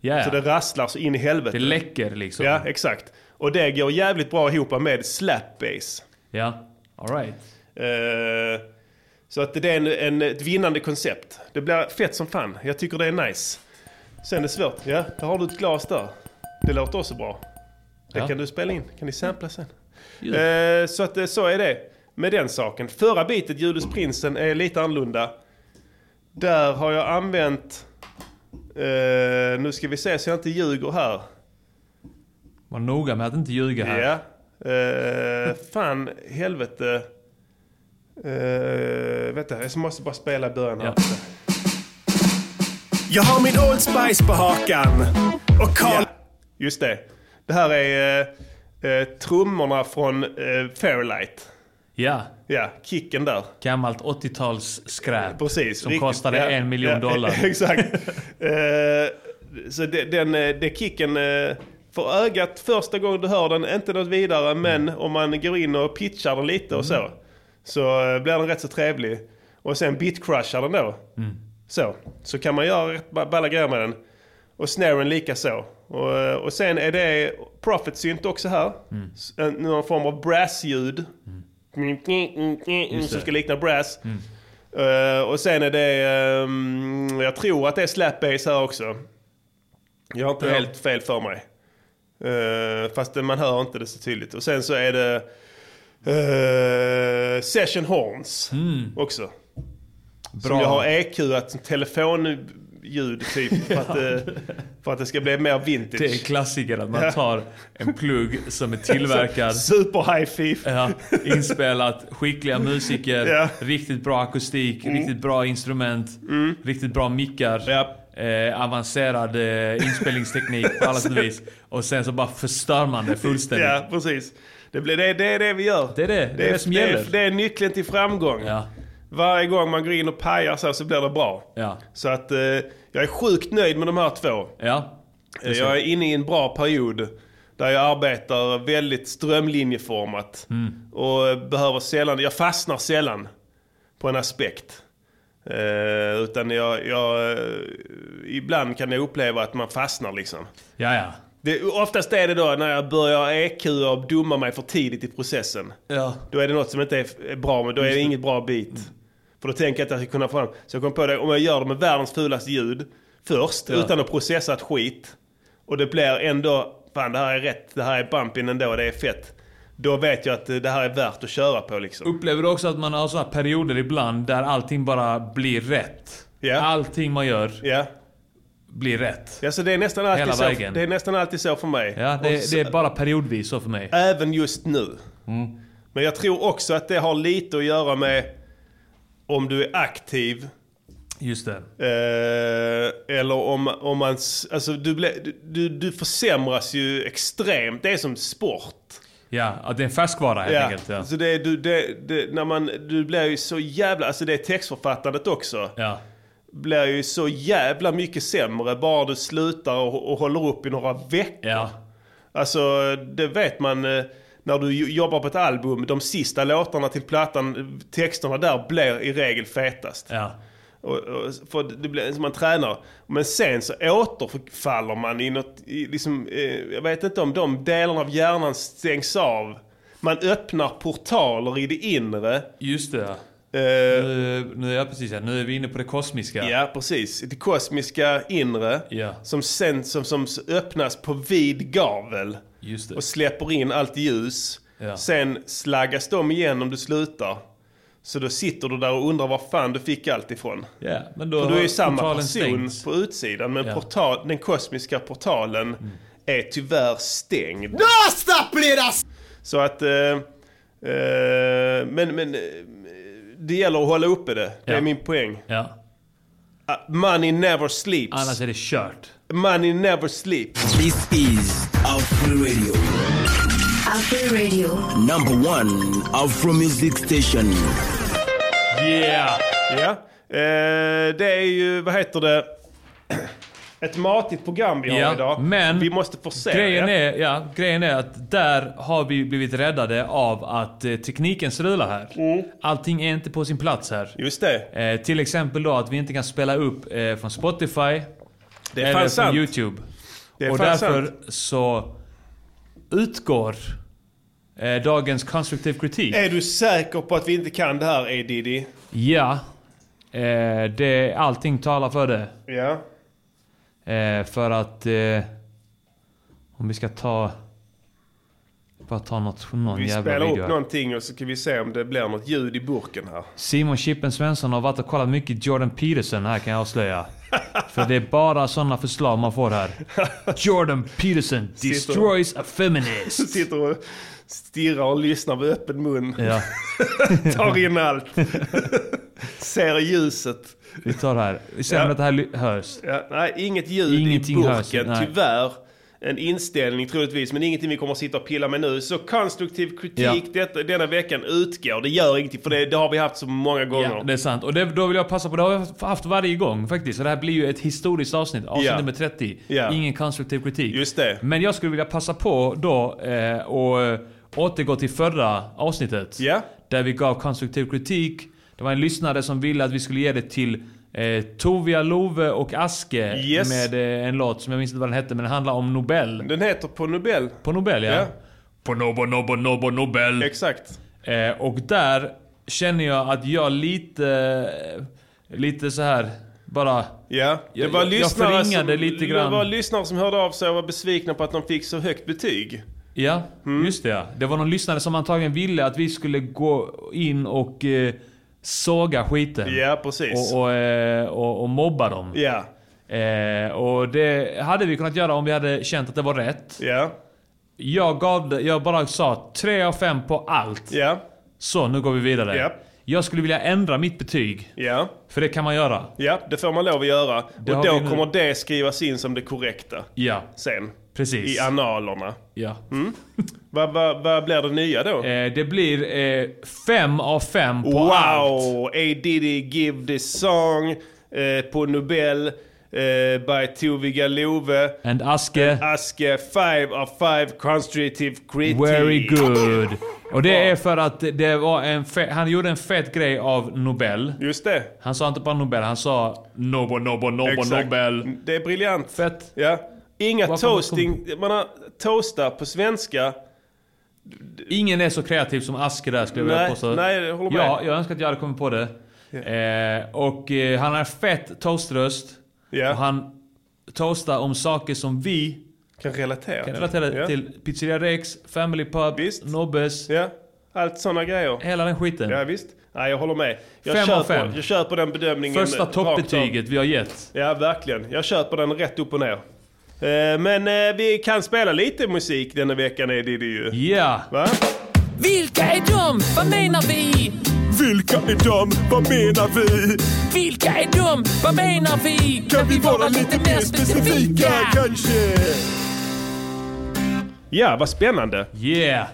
Ja, ja. Så det rasslar så in i helvete. Det läcker liksom. Ja, exakt. Och det går jävligt bra ihop med slap bass. Ja, alright. Eh, så att det är en, en, ett vinnande koncept. Det blir fett som fan. Jag tycker det är nice. Sen är det svårt. Ja, där har du ett glas där. Det låter också bra. Det Ja. kan du spela in. Kan ni sampla sen. Eh, så att eh, så är det med den saken. Förra bitet, Judas Prinsen, är lite annorlunda. Där har jag använt... Eh, nu ska vi se så jag inte ljuger här. Var noga med att inte ljuga här. Ja. Eh, fan, helvete. Uh, vänta, jag måste bara spela i början här. Jag har min Old Spice på hakan. Och Carl... Just det. Det här är eh, eh, trummorna från eh, Fairlight. Ja. Ja, kicken där. Gammalt 80-tals skräp. Precis. Som riktigt. kostade Ja, en miljon ja, <laughs> dollar. Exakt. Eh, så det, den, eh, det kicken eh, för ögat första gången du hör den, inte något vidare, Mm. men om man går in och pitchar den lite och så, så eh, blir den rätt så trevlig. Och sen bitcrushar den då. Mm. Så. Så kan man göra rätt ba- balla grejer med den. Och snaren lika så. Och, eh, och sen är det profit synt också här. S- en- Någon form av brassljud. Mm. Just Som det. Mm. ska likna brass. Eh, och sen är det, ehm, jag tror att det är slap bass här också. Jag har inte Ja. helt fel för mig. Eh, fast man hör inte det så tydligt. Och sen så är det eh, session horns Mm. också. Som Bra. jag har EQat som telefonljud typ. För att, <laughs> eh, för att det ska bli mer vintage. Det är klassiker att Ja. man tar en plugg som är <laughs> tillverkad. Super hi-fi. Ja, inspelat, skickliga musiker, Ja. riktigt bra akustik, Mm. riktigt bra instrument, riktigt bra mickar. Eh, avancerad eh, inspelningsteknik på alla sätt och vis. Och sen så bara förstör man det <laughs> fullständigt. Ja, precis. Det, blir, det, det är det vi gör. Det är det, det, är det, som gäller. Det är nyckeln till framgång. Varje gång man går in och pajar så, så blir det bra. Ja. Så att eh, jag är sjukt nöjd med de här två. Ja. Eh, Jag är inne i en bra period där jag arbetar väldigt strömlinjeformat. Mm. Och eh, behöver sällan, jag fastnar sällan på en aspekt. Eh, utan jag, jag, eh, ibland kan jag uppleva att man fastnar liksom. Ja, ja. Det, oftast är det då när jag börjar EQ och dumma mig för tidigt i processen. Ja. Då är det något som inte är f- är bra, men då är det inget bra bit. Mm. För då tänker jag att jag ska kunna få fram... Så jag kom på det, om jag gör det med världens fulaste ljud först, Ja. utan att processa ett skit. Och det blir ändå, fan det här är rätt, det här är bumpin ändå, det är fett. Då vet jag att eh, det här är värt att köra på liksom. Upplever du också att man har såna här perioder ibland där allting bara blir rätt? Allting man gör blir rätt. Ja, så det är nästan alltid Hela så, vägen. Det är nästan alltid så för mig. Ja, Och det, så- det är bara periodvis så för mig. Även just nu. Mm. Men jag tror också att det har lite att göra med om du är aktiv. Just det. Eh, eller om, om man... s- Alltså du, ble, du- du, du försämras ju extremt. Det är som sport. Ja, att det är en färskvara helt enkelt. Ja. Så det, är- du, det, det, när man, du blir ju så jävla... Alltså det är textförfattandet också. Ja. Blir ju så jävla mycket sämre bara du slutar och, och håller upp i några veckor. Ja. Alltså det vet man eh, när du jo- jobbar på ett album. De sista låtarna till plattan, texterna där blir i regel fetast. Ja. Och, och, för det blir som man tränar. Men sen så återfaller man i något, i, liksom, eh, jag vet inte om de delarna av hjärnan stängs av. Man öppnar portaler i det inre. Eh, Just det. nu, nu, är jag precis här. nu är vi inne på det kosmiska. Ja, precis. Det kosmiska inre som, sen, som, som öppnas på vid gavel och släpper in allt ljus. Ja. Sen slaggas de igen om du slutar. Så då sitter du där och undrar var fan du fick allt ifrån. Ja, men då För du är har ju samma portalen person stängts. på utsidan, men Ja. Mm. portal, den kosmiska portalen är tyvärr stängd. Så att... Eh, eh, men, men eh, det gäller att hålla uppe det. Det är Ja. min poäng. Ja. Uh, Money never sleeps. Annars är det kört. Money never sleeps. This is Afro Radio. Afro Radio. Number one Afro Music Station. Yeah! Ja. Eh, det är ju, vad heter det? <clears throat> Ett matigt program vi har Ja, idag. Men vi måste forcera. Grejen ja. är, ja, grejen är att där har vi blivit räddade av att eh, tekniken strular här. Mm. Allting är inte på sin plats här. Just det. Eh, till exempel då att vi inte kan spela upp eh, från Spotify. Det är eller fan från sant. YouTube. Det är och fan därför sant. så utgår eh, dagens konstruktiv kritik. Är du säker på att vi inte kan det här, ADD? Ja, eh, det, allting talar för det. Ja. Eh, för att... Eh, om vi ska ta... Bara ta något, någon Vi jävla spelar video. upp här. någonting och så kan vi se om det blir något ljud i burken här. Simon Chippen Svensson har varit och kollat mycket Jordan Peterson här kan <laughs> jag avslöja. För det är bara sådana förslag man får här. Jordan Peterson destroys a <laughs> feminist. Sitter och stirrar och lyssnar med öppen mun. Ja. <laughs> Tar in allt. <laughs> Ser ljuset. Vi tar det här. Vi ser om Ja. det här ly- hörs. Ja, nej, inget ljud Ingenting i hörs, burken, nej. tyvärr. En inställning troligtvis, men ingenting vi kommer att sitta och pilla med nu. Så konstruktiv kritik detta, denna veckan utgår. Det gör ingenting, för det, det har vi haft så många gånger. Ja, det är sant. Och det, då vill jag passa på, det har jag haft varje gång faktiskt. Så det här blir ju ett historiskt avsnitt. Avsnitt Ja. nummer 30. Ja. Ingen konstruktiv kritik. Just det. Men jag skulle vilja passa på då eh, och eh, återgå till förra avsnittet. Ja. Där vi gav konstruktiv kritik. Det var en lyssnare som ville att vi skulle ge det till eh, Tovia Love och Aske Yes. med eh, en låt som jag minns inte vad den hette men den handlar om Nobel. Den heter På Nobel. På Nobel ja. Ja. På Nobo Nobo Nobo Nobel. Exakt. Eh, och där känner jag att jag lite... Lite så här bara... Ja, det Jag- var jag- jag lyssnare förringade som, lite Det grann. var lyssnare som hörde av sig och var besvikna på att de fick så högt betyg. Ja, Mm. just det ja. Det var någon lyssnare som antagligen ville att vi skulle gå in och eh, såga skiten. Ja, precis. Och, och, eh, och, och mobba dem. Ja, Eh, och det hade vi kunnat göra om vi hade känt att det var rätt. ja, Jag gav det, jag bara sa 3 av 5 på allt. ja, Så, nu går vi vidare. Ja. Jag skulle vilja ändra mitt betyg. ja. För det kan man göra. Ja, det får man lov att göra. har och då vi nu. kommer det skrivas in som det korrekta Ja, sen. precis. I analerna. ja. Mm. Vad vad- vad blir det nya då? Eh, det blir eh, fem av fem på wow! allt. A Diddy Give This Song eh, på Nobel eh, by Toviga Love. And Aske, Aske 5 of 5 Constructive Critic. very good. Och det är för att det var en fe- han gjorde en fet grej av Nobel. Just det. Han sa inte bara Nobel, han sa Nobo, Nobo, Nobo, Exakt. Nobel. Det är briljant. Fett. Ja. Inga Varför toasting. Man har toasta på svenska. Ingen är så kreativ som Aske där skulle jag vilja Nej, påstå. nej, jag håller med. Ja, jag önskar att jag hade kommit på det. Eh, och eh, han har fett toaströst. Ja. Och han toastar om saker som vi Kan relatera. kan relatera ja. till. Pizzeria Rex, Family Pub, Visst. Nobbes. Ja. Allt sådana grejer. Hela den skiten. Ja visst. Nej, jag håller med. Jag, Fem av köper, fem. jag köper den bedömningen. Första rakt av. toppbetyget vi har gett. Ja, verkligen. Jag köper den rätt upp och ner. Eh, Men eh, vi kan spela lite musik denna veckan, är det det ju. Ja! Va? Vilka är de? Vad menar vi? Vilka är de? Vad menar vi? Vilka är de? Vad menar vi? Kan vi vara lite mer specifika kanske? Ja, vad spännande. Yeah!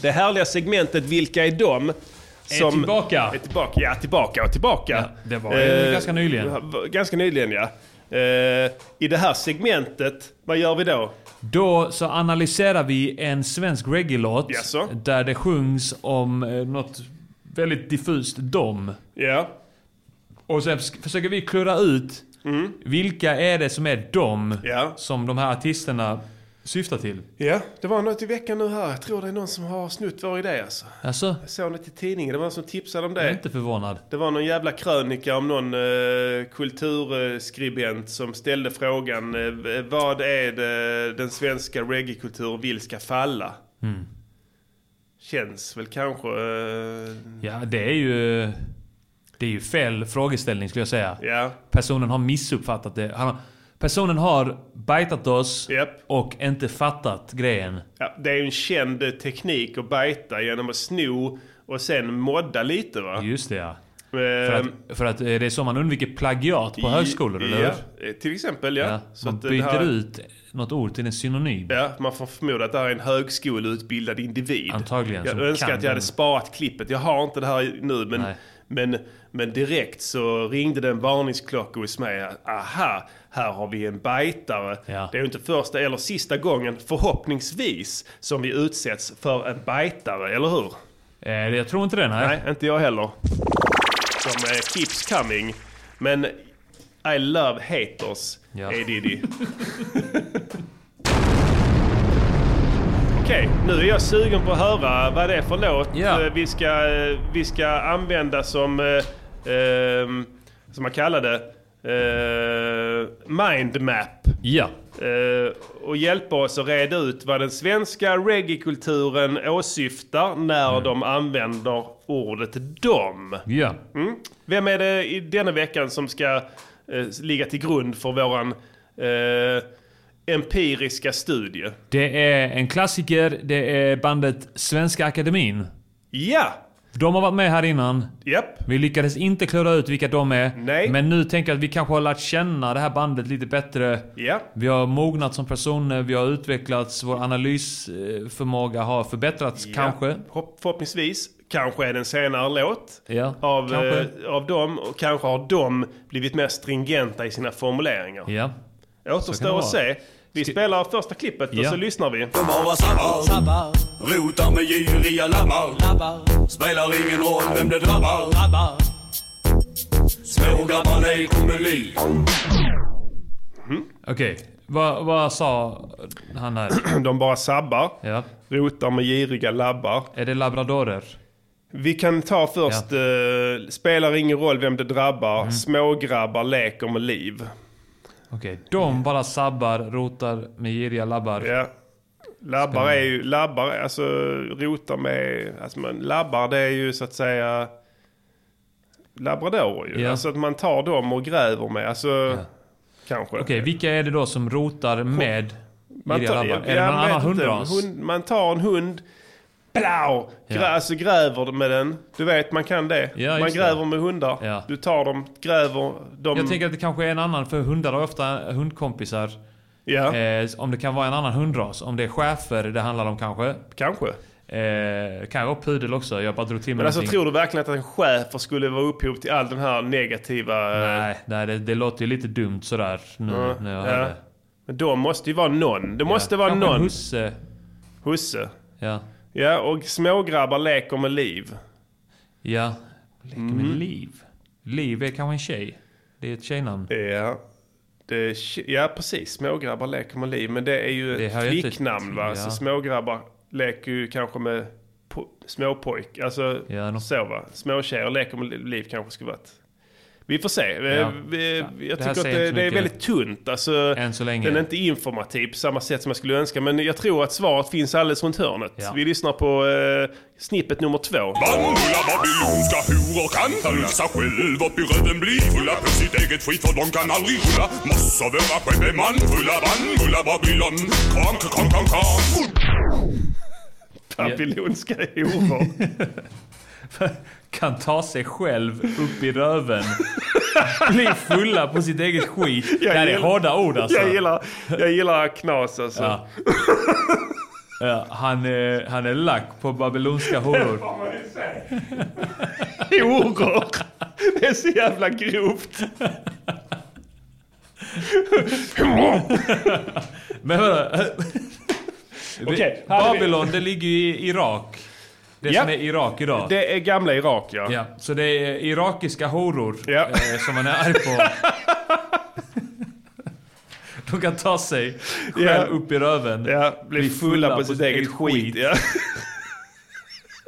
Det härliga segmentet Vilka är de? Är tillbaka! Är tillbaka. Ja, tillbaka och tillbaka. Eh, Ja, det var ju ganska nyligen. Ganska nyligen, ja. Eh, I det här segmentet, vad gör vi då? Då så analyserar vi en svensk reggae-låt Jaså? där det sjungs om eh, något väldigt diffust dom. Ja, Och sen sk- försöker vi klura ut vilka är det som är dom Mm. Ja. som de här artisterna syftar till. ja. det var något i veckan nu här. Jag tror det är någon som har snutt vår idé alltså. Alltså, Jag såg något i tidningen, det var någon som tipsade om det. jag är inte förvånad. Det var någon jävla krönika om någon eh, kulturskribent som ställde frågan eh, vad är det den svenska reggaekulturen vill ska falla? Mm. Känns väl kanske... Eh, Ja, det är ju... Det är ju fel frågeställning skulle jag säga. ja, Personen har missuppfattat det. Han har, personen har bajtat oss Japp. och inte fattat grejen. ja, det är ju en känd teknik att bajta genom att sno och sen modda lite va? Just det ja. Eh, För att, för att eh, det är så man undviker plagiat på i- högskolor, eller ja, hur? eh, Till exempel ja. Ja, Så man att det byter här- ut något ord till en synonym. Ja, man får förmoda att det här är en högskoleutbildad individ. Antagligen, Jag som önskar kan att jag hade den. sparat klippet. Jag har inte det här nu, men, Nej. men, men direkt så ringde det en varningsklocka hos mig. Aha, här har vi en bajtare. Ja. Det är ju inte första eller sista gången, förhoppningsvis, som vi utsätts för en bajtare, eller hur? Eh, jag tror inte det, nej. Nej, inte jag heller. Som eh, keeps coming. Men I love haters, A. Diddy. <laughs> Okej, nu är jag sugen på att höra vad det är för låt eh, vi, ska, eh, vi ska använda som, eh, ehm, som man kallar det, eh, mindmap. Ja. Eh, och hjälpa oss att reda ut vad den svenska reggae-kulturen åsyftar när de använder ordet dom. Ja. Mm. Vem är det i denna veckan som ska eh, ligga till grund för våran eh, empiriska studie? Det är en klassiker. Det är bandet Svenska Akademin. Ja! De har varit med här innan. Japp. Vi lyckades inte klura ut vilka de är. Nej. Men nu tänker jag att vi kanske har lärt känna det här bandet lite bättre. Ja. Vi har mognat som personer, vi har utvecklats, vår analysförmåga har förbättrats kanske. Hopp, förhoppningsvis. Kanske är det en senare låt Ja, av, kanske. eh, av dem. Och kanske har de blivit mer stringenta i sina formuleringar. Ja. kan det Återstår att vara. se. Vi spelar första klippet och Ja. så lyssnar vi. De bara sabbar, sabbar. rotar med giriga labbar. labbar. Spelar ingen roll vem det drabbar. drabbar. Smågrabbarna är komedi. Okej, vad, vad sa <clears throat> han här? De bara sabbar. Ja. Rotar med giriga labbar. Är det labradorer? Vi kan ta först, eh, spelar ingen roll vem det drabbar, Mm. smågrabbar leker med liv. Okej, de bara sabbar, rotar med giriga labbar. Ja. Labbar Ska- är ju, labbar, är- alltså rotar med, alltså man, labbar det är ju så att säga labradorer ju. Ja. Alltså att man tar dem och gräver med, alltså kanske. Okej, vilka är det då som rotar med Man giriga tar, labbar? ja, Är det någon jag annan vet inte. hundras? Hund, man tar en hund, plau, grä, Ja. alltså gräver med den. Du vet, man kan det. Ja, man just det. gräver med hundar. Du tar dem, gräver dem. Jag tänker att det kanske är en annan, för hundar har ofta hundkompisar. Ja. Eh, om det kan vara en annan hundras. Om det är schäfer det handlar om kanske. Kanske. Eh, kanske vara pudel också. Jag bara drog till med Men alltså någonting. tror du verkligen att en schäfer skulle vara upphov till all den här negativa... eh, Nej, nej det, det låter ju lite dumt sådär nu Ja, när jag ja. hör det. Men då måste ju vara någon. Det måste vara Kanske en någon. husse. Husse. Ja. Ja, och smågrabbar leker med liv. Ja. Leker med Mhm. liv. Liv är kanske en tjej. Det är ett tjejnamn. Ja. Det är, tje- ja, precis. Smågrabbar leker med liv. Men det är ju Det ett hör ju inte flicknamn till, va? ja. Så smågrabbar leker ju kanske med po- småpojk. Alltså så va. Småtjejer leker med liv kanske skulle vara ett... Vi får se. Eh, Ja. vi- Jag Det här tycker att säger inte det, så det är mycket. väldigt tunt. Alltså, Än så länge. Den är inte informativ på samma sätt som jag skulle önska. Men jag tror att svaret finns alldeles runt hörnet. Ja. Vi lyssnar på eh, snippet nummer två. Bandula babylonska horor kan frusa själv upp i röven bli fulla på sitt eget skit för de kan aldrig rulla Måste vara skeppemän fulla bandula babylon Kram, kram, kram, kram Babylonska horor. kan ta sig själv upp i röven. <laughs> Bli fulla på sitt eget skit. det här är gillar- hårda ord alltså. Jag gillar, jag gillar knas alltså. Ja. Ja, han, är, han är lack på babylonska Det horor. får man ju <laughs> säga. Horor! Det är så jävla grovt. Men vadå? <laughs> Okej, här är vi. Babylon, det ligger ju i Irak. Det Ja. som är Irak idag. Det är gamla Irak ja. Ja, så det är irakiska horor eh, som man är arg på. <laughs> De kan ta sig själv Ja. upp i röven. Ja, bli fulla på sitt eget skit,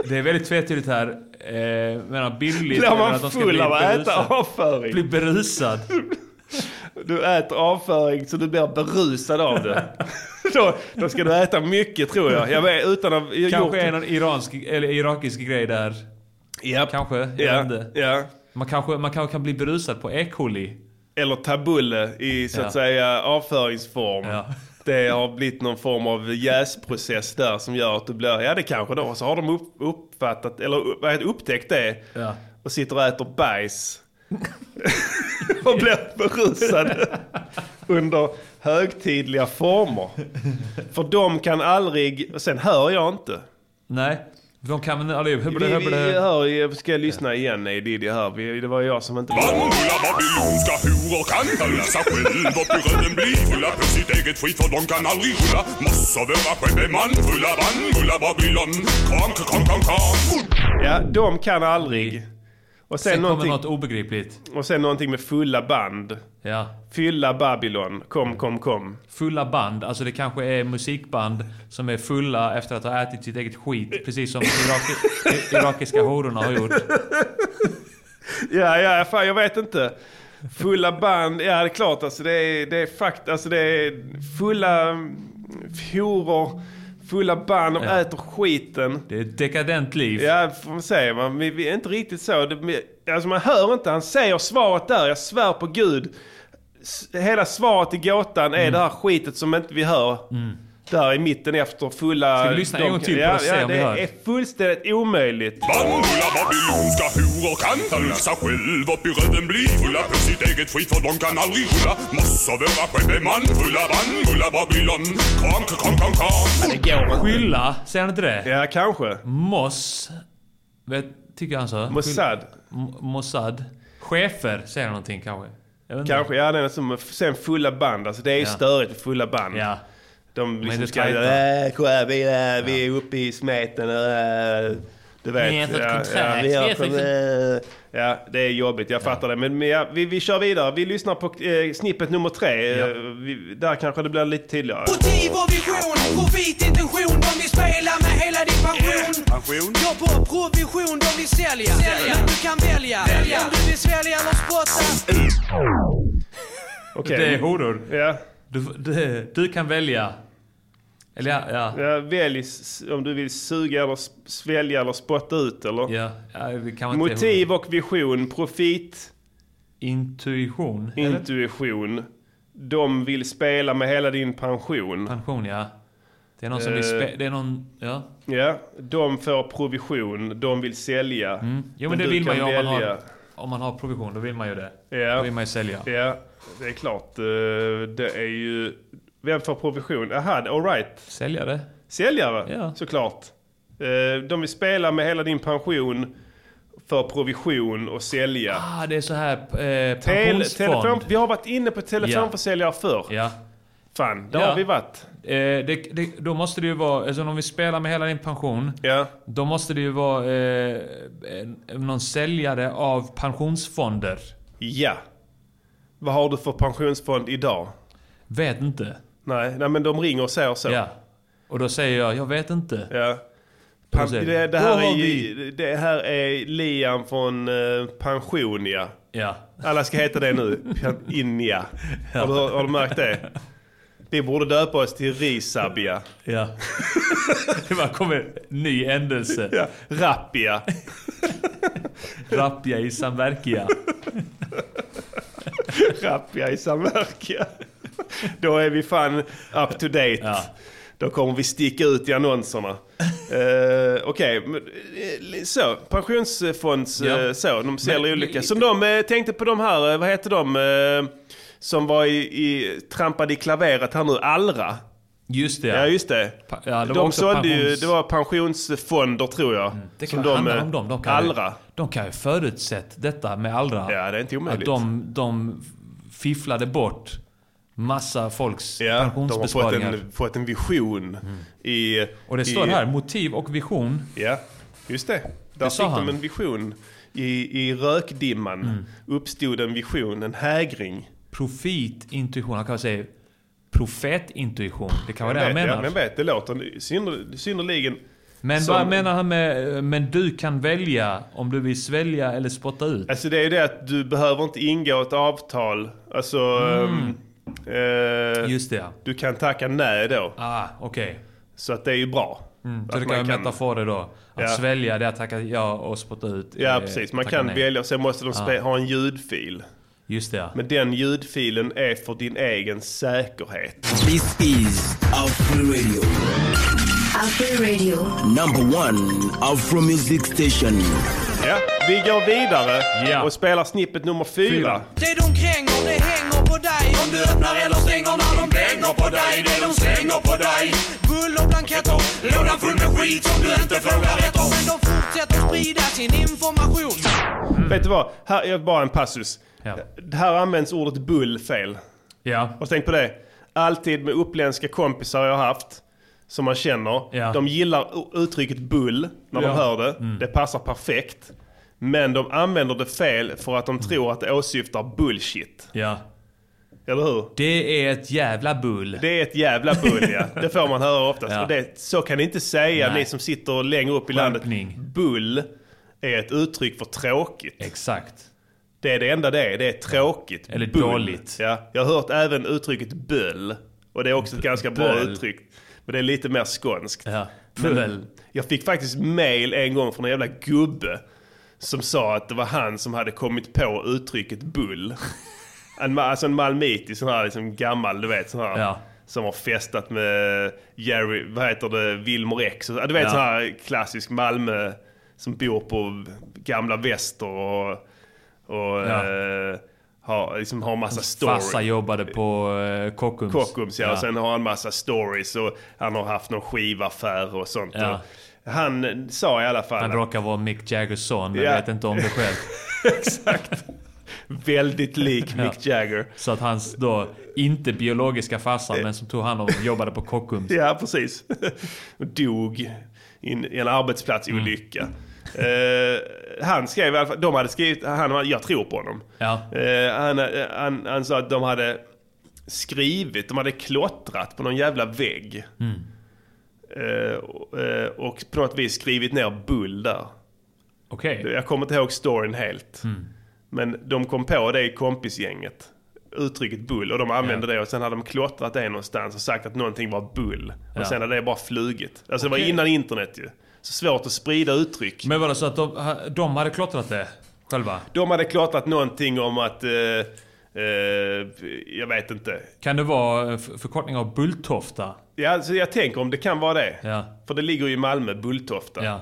Det är väldigt tvetydigt här. Eh, menar billigt. Blir eller man att de ska full bli av att äta berusade. avföring? <laughs> Bli berusad. Du äter avföring så du blir berusad av det. <laughs> då, då ska du äta mycket tror jag. jag vet, utan att, jag Kanske är någon iransk eller irakisk grej där. Kanske. Jag Ja, vet inte. Man kanske man kanske kan bli berusad på E. coli. Eller tabulle i så att Ja. säga avföringsform. Det har blivit någon form av jäsprocess där som gör att du blir, ja det kanske då, så har de upp, uppfattat, eller upp- vad heter det, upptäckt det Ja. och sitter och äter bajs. <laughs> och blir berusade under högtidliga former. För de kan aldrig, och sen hör jag inte. Nej. De kan väl aldrig... Vi, vi hör, jag ska lyssna igen i Diddy här, Vi- det var jag som inte... Bandula babylonska horor kan frusa själv upp i röven bli fulla på sitt eget skit för de kan aldrig rulla Måste vara skeppemän fulla bandula babylon Kram, kram, kram, kram Ja, de kan aldrig. Och Sen kommer någonting- något obegripligt. Och sen någonting med fulla band. Ja. Fylla Babylon. Kom, kom, kom. Fulla band, alltså det kanske är musikband som är fulla efter att ha ätit sitt eget skit. Precis som iraki- <laughs> i- irakiska hororna har gjort. Ja, ja, fan jag vet inte. Fulla band, ja det är klart alltså det är, det är fakt, alltså det är fulla mm, horor, fulla band, de Ja. äter skiten. Det är ett dekadent liv. Ja, får man säga. Man, vi, vi är inte riktigt så. Det, vi- alltså man hör inte, han säger svaret där, jag svär på gud. S- hela svaret i gåtan Mm. är det här skitet som inte vi hör. Där i mitten efter fulla... Ska vi lyssna en de- gång till på det ja, och se ja, om det vi hör? är fullständigt omöjligt. Bandula babylonska huror kan rusa själv upp i röven bli fulla på sitt eget skit för de kan aldrig rulla Måste vara själv är man fulla bandula babylon Kram, kram, kram, kram Skylla, säger han inte det? Ja, Mm, kanske. Moss, vet, tycker han så? Mossad. M- Mossad. Chefer, säger han någonting kanske? Jag vet inte. Kanske, ja det är som, sen fulla band. Alltså det är ju Ja. störigt med fulla band. Ja. De Men det liksom ska... tajta. Äh, kolla, vi, är- vi är uppe i smeten. Äh, du vet. Vi har fått kontrakt, liksom- vi har vi har fått- äh, ja, det är jobbigt. Jag fattar det. Men, men ja, vi, vi kör vidare. Vi lyssnar på eh, snippet nummer tre. Eh, vi, där kanske det blir lite tydligare. Motiv och vision, profit, intention. De vill spela med hela din pension. Jobb och provision, de vill sälja. Men du kan välja, om du vill svälja eller spotta. Okej. Det är horor. Ja. Du, du, du kan välja. Eller ja, ja. Ja, välj s- om du vill suga eller s- svälja eller spotta ut eller? Ja, ja, det kan man inte- Motiv och vision, profit. Intuition? eller? Intuition. De vill spela med hela din pension. Pension, ja. Det är någon som vill Eh. spe- Det är någon... Ja. Ja, de får provision, de vill sälja. Mm. Jo men det du vill man ju kan om man, har, välja. om man har provision. Då vill man ju det. Ja. Då vill man ju sälja. Ja, det är klart. eh, Det är ju... Vem får provision? Aha, alright. Säljare. Säljare, Ja. såklart. Eh, De vill spela med hela din pension för provision och sälja. Ah, det är så här eh, Tel- pensionsfond. telefon, vi har varit inne på telefonförsäljare förr. Ja. Fan, där Ja. har vi varit. Eh, det, det, då måste det ju vara, alltså om vi spelar med hela din pension. Ja. Då måste det ju vara eh, en- någon säljare av pensionsfonder. Ja. Vad har du för pensionsfond idag? Vet inte. Nej, nej men de ringer och säger så. Ja. Och då säger jag, jag vet inte. Ja. Och Pan- så säger det, de, det, "Då här har är ju, det här är Liam från eh, Pension ja. Ja. Alla ska heta det nu. Paninja. <laughs> Ja. Har, du, har du märkt det? Vi borde döpa oss till Risabia. Ja. <laughs> Det bara kommer ny ändelse. Ja. Rappia. Rappia i samverkia. Rappia i samverkan. Då är vi fan up to date. Då kommer vi sticka ut i annonserna. Eh, Okej, men, eh, så. Pensionsfonds... eh, Ja. Så, de säljer Men- olika. Som de eh, tänkte på de här, eh, vad heter de? eh, som var i, i, trampade i klaveret här nu, Allra. Just det. Ja, just det. Pa- ja, det var de också sålde ju, pensions- Mm, det var pensionsfonder tror jag. Det som kan handla eh, om dem. De kan, Allra. de kan ju förutsett detta med Allra. Ja, det är inte omöjligt. Att de, de fifflade bort massa folks Ja, de har fått pensionsbesparingar. Mm. en, fått en vision i... Och det står i, här, motiv och vision. Ja, just det. Där Det sa fick de han. Mm. en vision. I, i rökdimman uppstod en vision, en hägring. Profitintuition. Han kan säga profetintuition. Det kan vara det han vet, menar. men vet, det låter synder, synnerligen... Men som- vad menar han med men du kan välja om du vill svälja eller spotta ut? Alltså det är ju det att du behöver inte ingå ett avtal. Alltså... Mm. ehm, eh, Just det. ja. Du kan tacka nej då. Ah, okej. Så att det är ju bra. Mm, Att så det kan man vara en metafor då. Att Ja. svälja det är att tacka ja och spotta ut. Ja, eh, precis. Man tacka kan nej. välja och sen måste de spe- Ah. ha en ljudfil. Just det. ja. Men den ljudfilen är för din egen säkerhet. This is Afro Radio, Afro Radio. number one Afro music station. Ja, vi går vidare och spelar snippet nummer fyra. Det de kränger, det hänger på dig. Om du öppnar eller stänger när de blänger på dig. Det de slänger på dig. Buller, blanketter, lådan full med skit som du inte frågar efter. Men de fortsätter sprida sin information. Mm. Vet du vad? Här är bara en passus. Här används ordet bull fel. Ja. Och tänk på det. Alltid med uppländska kompisar jag har haft, som man känner. Ja. De gillar o- uttrycket bull när Ja. de hör det. Det passar perfekt. Men de använder det fel för att de tror att det åsyftar bullshit. Ja. Eller hur? Det är ett jävla bull. Det är ett jävla bull <laughs> ja. Det får man höra oftast. Ja. Och det, så kan ni inte säga Nej. ni som sitter längre upp i landet. Bull är ett uttryck för tråkigt. Exakt. Det är det enda det är. Det är tråkigt. Eller Bull. dåligt. Ja. Jag har hört även uttrycket böll. Och det är också ett ganska bra böll. uttryck. Men det är lite mer skånskt. Ja. Men Böll. Jag fick faktiskt mail en gång från en jävla gubbe. Som sa att det var han som hade kommit på uttrycket bull. <laughs> En, ma- alltså en malmitig sån här liksom gammal, du vet sån här. Ja. Som har festat med Jerry, vad heter det, Wilmer X. Och, ja, du vet Ja. sån här klassisk Malmö som bor på gamla väster och, och Ja. eh, har, liksom har massa stories. Farsa jobbade på eh, Kockums. Kockums ja. Och sen har han massa stories och han har haft någon skivaffär och sånt. Ja. Och han sa i alla fall... Han att- råkar vara Mick Jaggers son, men Ja. vet inte om det själv. Exakt. Väldigt <laughs> lik Mick Jagger. Så att hans då, inte biologiska farsa, men som tog hand om och jobbade på Kockums. Ja, precis. <laughs> Och Dog i en, i en arbetsplatsolycka. Mm. Eh, han skrev i alla fall, de hade skrivit, han, jag tror på honom. Ja. Eh, han, eh, han, han sa att de hade skrivit, de hade klottrat på någon jävla vägg. Mm. Eh, och, eh, och på något vis skrivit ner bull där. Okej. Jag kommer inte ihåg storyn helt. Mm. Men de kom på det i kompisgänget. Uttrycket bull. Och de använde det och sen hade de klottrat det någonstans och sagt att någonting var bull. Ja. Och sen hade det bara flugit. Alltså det var Okej. innan internet ju. Så svårt att sprida uttryck. Men var det så att de, de hade klottrat det själva? De hade klottrat någonting om att... Eh, eh, jag vet inte. Kan det vara eh, f- förkortning av Bulltofta? Ja, alltså jag tänker om det kan vara det. Ja. För det ligger ju i Malmö, Bulltofta. Ja.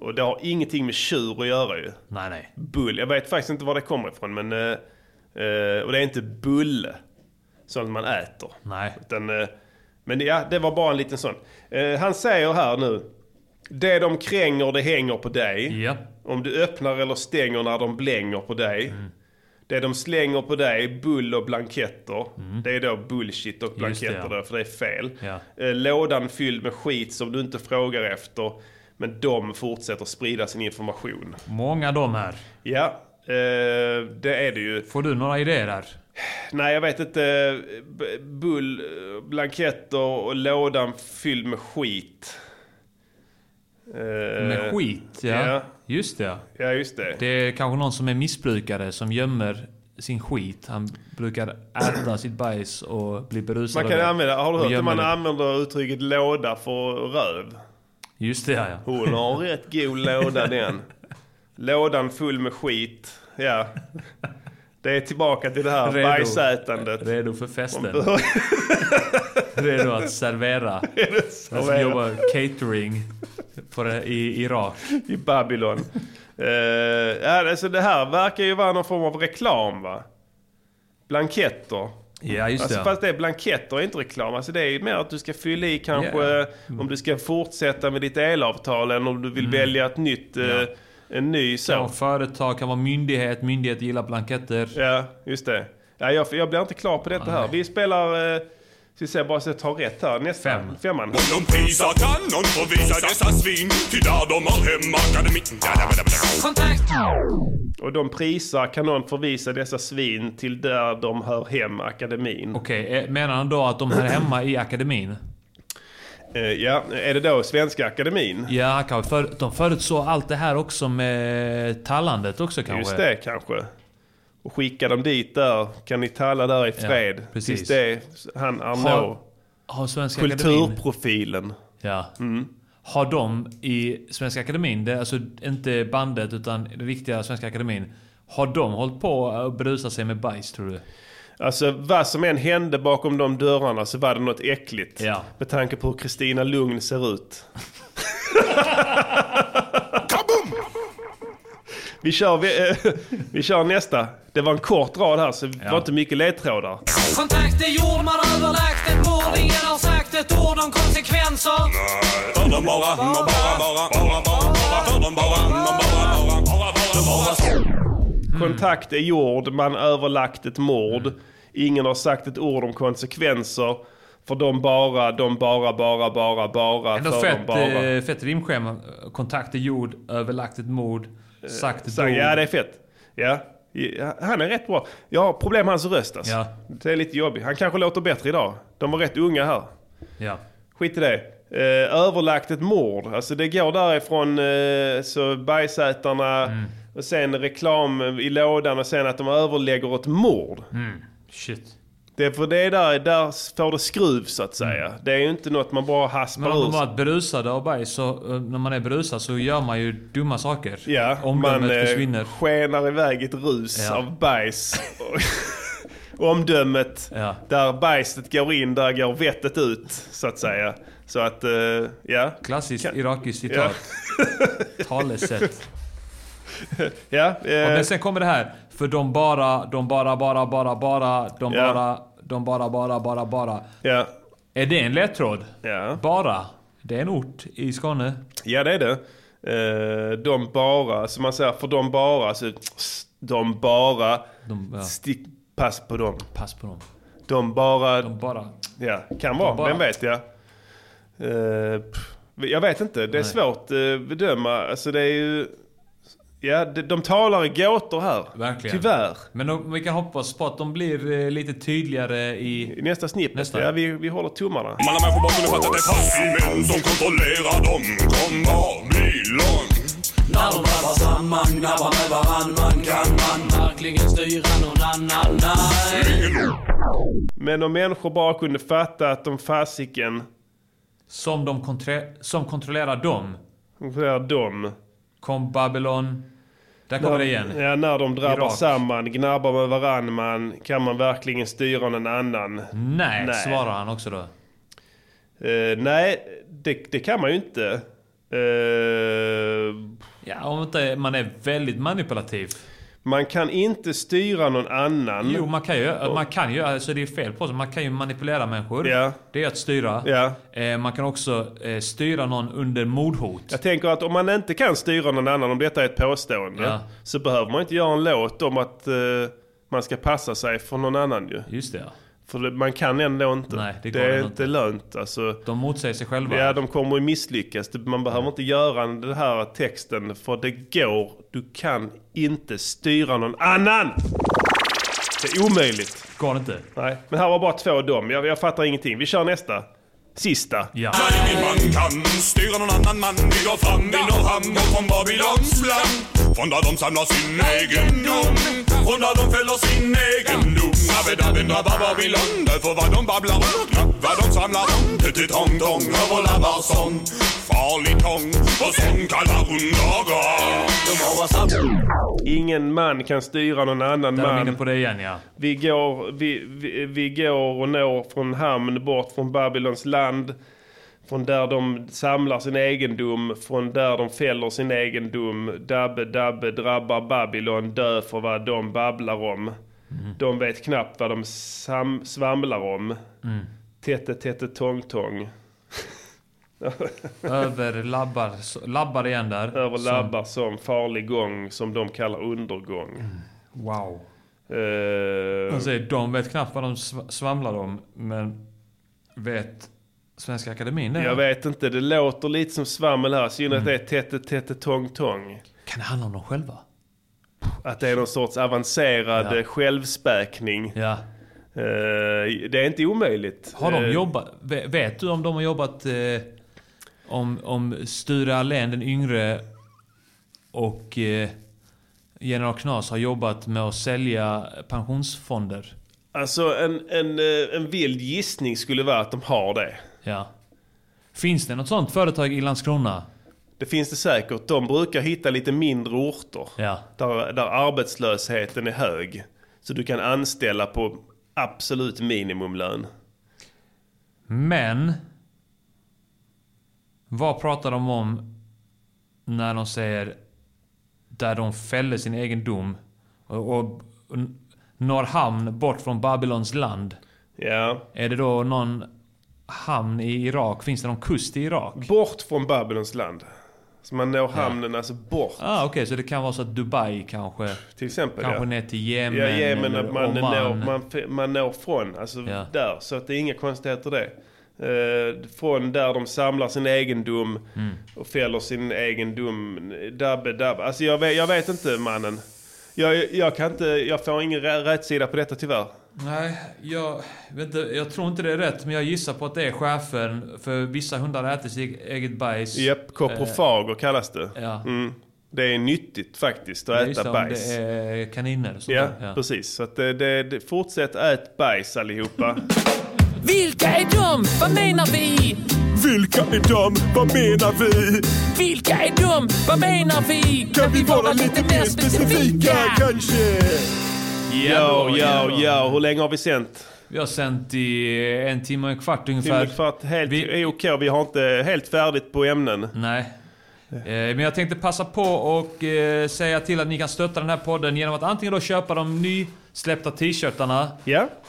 Och det har ingenting med tjur att göra ju. Nej, nej. Bull. Jag vet faktiskt inte var det kommer ifrån. Men, eh, eh, och det är inte bulle. Sånt man äter. Nej. Utan, eh, men det- ja, det var bara en liten sån. Eh, han säger här nu. Det de kränger det hänger på dig. Ja. Om du öppnar eller stänger när de blänger på dig. Mm. Det de slänger på dig, bull och blanketter. Det är då bullshit och Mm. Just det, blanketter ja. då, för det är fel. Ja. Eh, Lådan fylld med skit som du inte frågar efter. Men de fortsätter sprida sin information. Många de här. Ja, eh, det är det ju. Får du några idéer där? Nej, jag vet inte. B- Bull, eh, blanketter och lådan fylld med skit. Eh, Med skit, ja. ja. Just det. ja. Ja, just det. Det är kanske någon som är missbrukare som gömmer sin skit. Han brukar äta sitt bajs och bli berusad Man kan av det. använda, har du Och hört att gömmer man det. använder uttrycket låda för röv? Just det, ja. ja. Hon har rätt god låda den. Lådan full med skit. Ja. Det är tillbaka till det här Redo. bajsätandet. Redo för festen. <laughs> Om- Redo <laughs> att servera. Den som Servera. jobbar catering på det, i Irak. I Babylon. Eh, ja, alltså det här verkar ju vara någon form av reklam va? Blanketter. Ja, just alltså, det. Fast det är blanketter är inte reklam. Alltså det är ju mer att du ska fylla i kanske Ja. eh, om du ska fortsätta med ditt elavtal än om du vill Mm. välja ett nytt, eh, en ny Kan vara så. företag, kan vara myndighet. Myndighet gillar blanketter. Ja, just det. Ja, jag, jag blir inte klar på detta här. Vi spelar, eh, ska vi se bara så jag tar rätt här. Nästa, Fem. femman. Och de prisar kanon för visa dessa svin Ty där de har hemma kan mitt... Kontakt! Och de prisar kan någon förvisa dessa svin till där de hör hem, akademin. Okej, eh, menar han då att de här hemma i akademin? Eh, ja, är det då Svenska Akademin? Ja, han kanske för, de förutsåg allt det här också med tallandet också kanske. Just det kanske. Och skicka dem dit där. Kan ni talla där i fred? Ja, precis. Tills det, han Arnault. Har, har Svenska Akademin... Kulturprofilen. Ja. Mm. Har de i Svenska Akademin, det, är alltså inte bandet utan den riktiga Svenska Akademin. Har de hållit på att berusa sig med bajs tror du? Alltså vad som än hände bakom de dörrarna så var det något äckligt. Ja. Med tanke på hur Kristina Lugn ser <laughs> ut. vi, kör, vi, eh, <laughs> vi kör nästa. Det var en kort rad här så det var inte mycket ledtrådar. Kontakt är gjord, man har överlagt ett mord. Ingen har sagt ett ord om konsekvenser. För de bara, bara, bara, bara, bara, bara För de bara, bara, bara, bara, bara, bara Mm. Kontakt är gjord, man överlagt ett mord. Ingen har sagt ett ord om konsekvenser. För de bara, de bara, bara, bara, bara, Ändå för de fett, bara. eh, fett rimschema. Kontakt är gjord, överlagt ett mord. Sagt Sagt, ja, det är fett. Ja. Ja, Han är rätt bra. Jag har problem med hans röst alltså. Ja. Det är lite jobbigt. Han kanske låter bättre idag. De var rätt unga här. Ja. Skit i det. Eh, överlagt ett mord. Alltså det går därifrån eh, så bergsätarna Mm. och sen reklam i lådan och sen att de överlägger ett mord. Mm. Shit. Det är för det är där, där får det skruv så att säga. Det är ju inte något man bara haspar Men om ur Mm. man sig. varit berusad av bajs så eh, när man är berusad så gör man ju dumma saker. Ja, Omdömet man eh, försvinner. skenar iväg i ett rus Ja. av bajs. <laughs> Och Omdömet. Där bajset går in, där går vettet ut. Så att säga. Så att, eh, ja. Klassiskt <laughs> irakiskt citat. Talesätt. ja, Ja, eh, men sen kommer det här. För de bara, de bara, bara, bara, bara, de Ja. bara, de bara, bara, bara, bara. Ja. Är det en ledtråd? Ja. Bara. Det är en ort i Skåne. ja, det är det. Eh, de bara, som man säger, för de bara. Så, de bara. De- ja. Stick, pass på dem. Pass på dem. De bara... De bara. Ja, kan vara. bara. Vem vet, ja. Eh, pff, jag vet inte. Det är Nej. svårt att bedöma. Alltså det är ju... Ja, de, de talar i gåtor här. Verkligen. Tyvärr. Men de, vi kan hoppas på att de blir eh, lite tydligare i... Nästa snippet. Nästa. Ja, vi, vi håller tummarna. Alla människor bakom det fattar att det fanns män som kontrollerar dem Kom Babylon När de drabbar samman, gnabbar med varann Man kan man verkligen styra någon annan? Nej Men om människor bara kunde fatta att de fasiken... Som de kontre, som kontrollerar dem. Kontrollerar dem. Kom Babylon. Där kommer det igen. Ja, när de drabbar Irak. samman, gnabbar med varann man, kan man verkligen styra någon annan? Nej, svarar han också då. Eh, nej, det, det kan man ju inte. Eh, Ja, om inte man är väldigt manipulativ. Man kan inte styra någon annan. Jo, man kan ju. Man kan ju alltså det är fel på sig. Man kan ju manipulera människor. Ja. Det är att styra. Eh, man kan också eh, styra någon under mordhot. Jag tänker att om man inte kan styra någon annan, om detta är ett påstående, Ja. så behöver man inte göra en låt om att eh, man ska passa sig för någon annan ju. Just det, ja. För det, man kan ändå inte. Nej, det går är ändå inte lönt. Alltså, de motsäger sig själva. Ja, de kommer att misslyckas. Det- Man behöver inte göra den här texten, för det går. Du kan inte styra någon annan! Det är omöjligt. Går inte? Nej, men här var bara två dom. Jag, jag fattar ingenting. Vi kör nästa. Sista. Ja. Ingen man kan styra någon annan man Vi går fram i norr hamn och från Babylons land Från där de samlar sin egendom Från där de fäller sin egendom Abedabben drabbar Babylon Därför vad de babblar och knappar de samlar om Tututong-tong, överlabbar sång Farlig tång och sång kallar hon dagar De har Ingen man kan styra någon annan Där är de man. inne på det igen ja. Vi går, vi, vi, vi går och når från hamn bort från Babylons land. Från där de samlar sin egendom, från där de fäller sin egendom. Dabbe, dabbe, drabbar Babylon, dö för vad de babblar om. De vet knappt vad de sam- svamlar om. Mm. Tette, tette, tång, tång. Över labbar, så- labbar igen där. Över labbar som farlig gång, som de kallar undergång. Mm. Wow. Alltså, Eh, Han säger de vet knappt vad de sv- svamlar om, men vet Svenska Akademin det? Jag vet inte, det låter lite som svammel här. I Mm. synnerhet det är tätte, tätte, tång, tång. Kan det handla om dem själva? Att det är någon sorts avancerad Ja. eh, självspäkning. Eh, Ja. det är inte omöjligt. Har de Eh, jobbat? ve- Vet du om de har jobbat... Eh, om, om Sture Allén den yngre och eh, General Knas har jobbat med att sälja pensionsfonder? Alltså en, en, eh, en vild gissning skulle vara att de har det. Ja. Finns det något sånt företag i Landskrona? Det finns det säkert. De brukar hitta lite mindre orter. Där, där arbetslösheten är hög. Så du kan anställa på absolut minimumlön. Men... Vad pratar de om när de säger där de fäller sin egen dom och, och, och når hamn bort från Babylons land? Ja. Är det då någon hamn i Irak? Finns det någon kust i Irak? Bort från Babylons land. Så man når hamnen, alltså bort. Ah, Okej, så det kan vara så att Dubai kanske... Till exempel, Kanske ja. ner till Yemen, Ja, Yemen eller att man, Oman. når, man, man når från. Alltså eh, Ja. där. Så att det är inga konstigheter det. eh, från där de samlar sin egendom Mm. och fäller sin egendom. Dabbe, dabbe. Alltså jag vet, jag vet inte mannen. Jag, jag, kan inte, jag får ingen rä- rätsida på detta tyvärr. Nej, jag, vet inte, jag tror inte det är rätt, men jag gissar på att det är schäfern. För vissa hundar äter sitt eget bajs. Japp, koprofager kallas det. ja. Mm. Det är nyttigt faktiskt att Ja, just äta det, om bajs. det är kaniner och sånt ja, där, ja. precis. Så att det, det, det, fortsätt ät bajs <laughs> allihopa. Vilka är de? Vad menar vi? Vilka är de? Vad menar vi? Vilka är de? Vad menar vi? Kan vi vara lite mer specifika? Kanske. Yo, yo, yo. Hur länge har vi sänt? Vi har sänt i en timme och en kvart Timme ungefär. och kvart, helt är okej. Vi har inte helt färdigt på ämnen. Nej. Eh, Men jag tänkte passa på och eh, säga till att ni kan stötta den här podden genom att antingen då köpa de nysläppta t-shirtarna.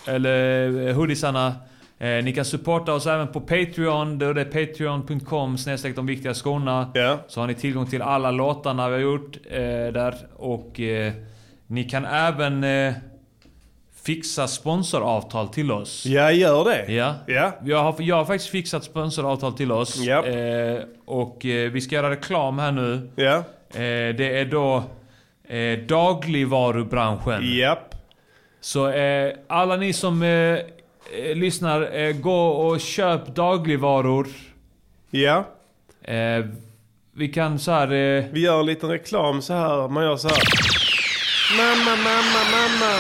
Eller eh, hoodiesarna. Eh, Ni kan supporta oss även på Patreon. Då Det är patreon.com snedstreck de viktiga skorna. Så har ni tillgång till alla låtarna vi har gjort eh, där. Och eh, ni kan även eh, fixa sponsoravtal till oss. Ja, gör det. Ja. Jag, har, jag har faktiskt fixat sponsoravtal till oss. Eh, och eh, vi ska göra reklam här nu. Eh, det är då eh, dagligvarubranschen. Så eh, alla ni som eh, eh, lyssnar, eh, gå och köp dagligvaror. Ja. Eh, vi kan så här... Eh, Vi gör en liten reklam så här. Man gör så här. Mamma, mamma, mamma.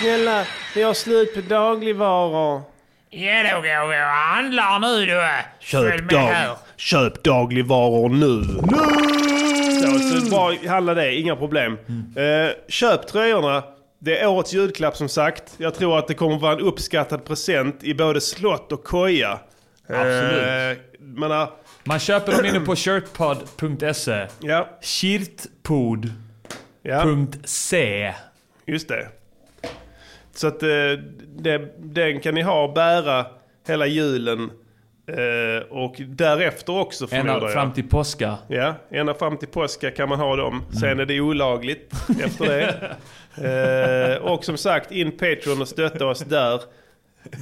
Snälla, vi har slut på dagligvaror. Ja, då går vi och handlar nu då. Följ Köp, med här. dag, köp dagligvaror nu. Nu! Så, så bra handla det, inga problem. Eh, köp tröjorna. Det är årets julklapp som sagt. Jag tror att det kommer vara en uppskattad present i både slott och koja. Absolut. Eh, men, eh, Man köper <clears throat> dem inne på shirtpod.se. Ja. Shirtpod.se. Just det. Så att eh, det, den kan ni ha och bära hela julen. Eh, och därefter också förmodar Ända jag. fram till påska. Ja, ända fram till påska kan man ha dem. Sen är det olagligt efter det. eh, och som sagt, in Patreon och stötta oss där.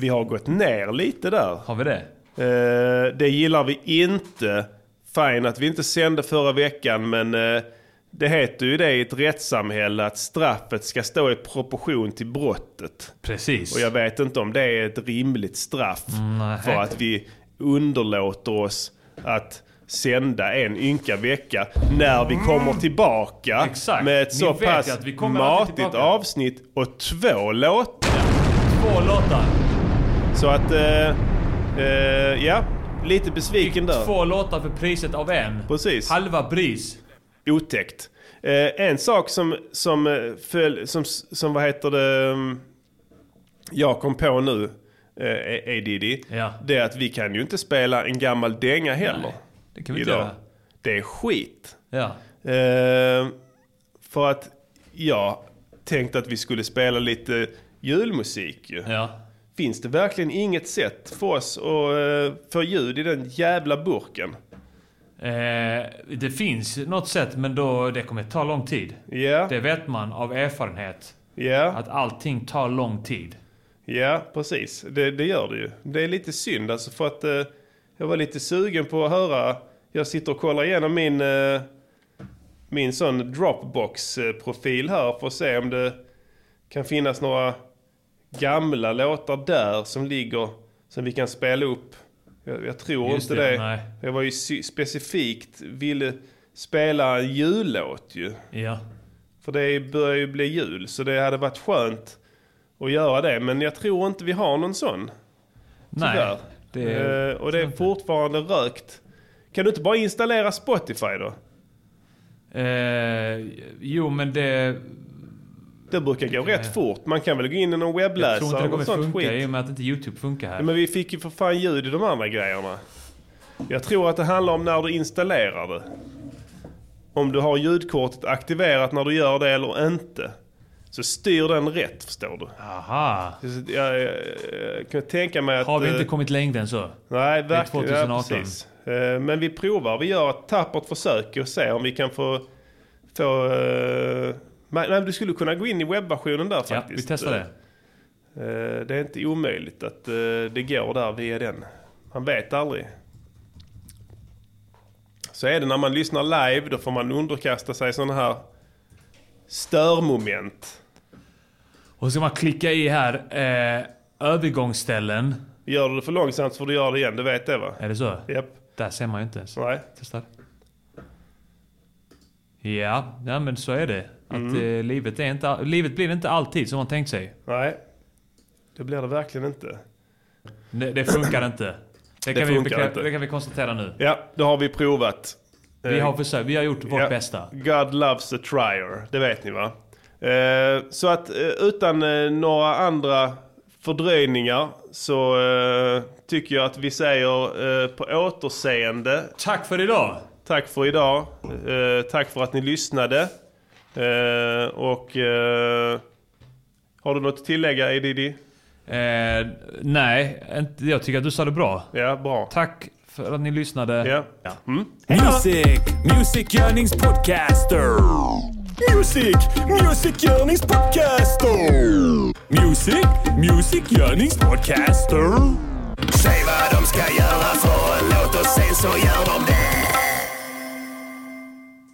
Vi har gått ner lite där. Har vi det? Eh, det gillar vi inte. Fine att vi inte sände förra veckan, men eh, det heter ju det i ett rättssamhälle att straffet ska stå i proportion till brottet. Precis. Och jag vet inte om det är ett rimligt straff Mm, Nej. för att vi underlåter oss att sända en ynka vecka när vi kommer tillbaka med ett Mm. Ni så vet ju pass att vi kommer alltid matigt tillbaka. avsnitt och två låtar. Två låtar. Så att, eh, eh, ja, lite besviken där. Två låtar för priset av en. Precis. Halva pris. Otäckt. Eh, en sak som, som, eh, föll, som, som vad heter det, mm, jag kom på nu, eh, Diddy, det är att vi kan ju inte spela en gammal dänga heller. det kan vi inte göra. Det är skit. Ja. Eh, för att jag tänkte att vi skulle spela lite julmusik ju. Finns det verkligen inget sätt för oss att eh, få ljud i den jävla burken? Eh, det finns något sätt, men då, det kommer ta lång tid. Det vet man av erfarenhet. Att allting tar lång tid. Ja, precis. Det, det gör det ju. Det är lite synd alltså för att eh, jag var lite sugen på att höra. Jag sitter och kollar igenom min, eh, min sån Dropbox-profil här för att se om det kan finnas några gamla låtar där som ligger som vi kan spela upp. Jag, jag tror Just inte det, det. nej. Jag var ju sy- specifikt ville spela en jullåt ju. Ja. För det börjar ju bli jul, så det hade varit skönt att göra det. Men jag tror inte vi har någon sån. Nej, Tyvärr. det- Eh, och det är fortfarande rökt. Kan du inte bara installera Spotify då? Eh, jo, men det... Det brukar gå rätt fort. Man kan väl gå in i någon webbläsare Jag tror inte det eller kommer sånt funka skit. i och med att inte YouTube funkar här. Ja, men vi fick ju för fan ljud i de andra grejerna. Jag tror att det handlar om när du installerar det. Om du har ljudkortet aktiverat när du gör det eller inte. Så styr den rätt förstår du. Aha. Jag, jag, jag kan tänka mig att... Har vi inte eh, kommit längre än så? Nej, Det är verkligen. Ja, 2018. precis. Eh, Men vi provar. Vi gör ett tappert försök och ser om vi kan få... få eh, men- nej, du skulle kunna gå in i webbversionen där Ja, faktiskt. vi testar det. Eh, Det är inte omöjligt att eh, det går där via den. Man vet aldrig. Så är det när man lyssnar live, då får man underkasta sig sådana här störmoment. Och så ska man klicka i här, eh, övergångsställen. Gör du det för långsamt så får du göra det igen, du vet det va? Är det så? Japp. Där ser man ju inte ens. Nej. Testa. Ja, ja men så är det. Att, Mm. eh, livet, är inte, all- livet blir inte alltid som man tänkt sig. Nej, det blir det verkligen inte. Det, det funkar inte. Det Det kan, vi, funkar bekra- inte. det kan vi konstatera nu. Ja, det har vi provat. Vi Eh, har försökt, vi har gjort vårt ja. bästa. God loves a trier, det vet ni va? Eh, Så att eh, utan eh, några andra fördröjningar så eh, tycker jag att vi säger eh, på återseende. Tack för idag! Tack för idag. Eh, Tack för att ni lyssnade. Eh, Och eh, har du något att tillägga Edidi? Eh, nej, inte- jag tycker att du sa det bra. Ja, bra. Tack för att ni lyssnade. Ja. Music, Music Yearnings Podcaster. Music, Music Yearnings Podcaster. Music, Music Yearnings Podcaster. Säg vad de ska göra för en låt och sen så gör de det.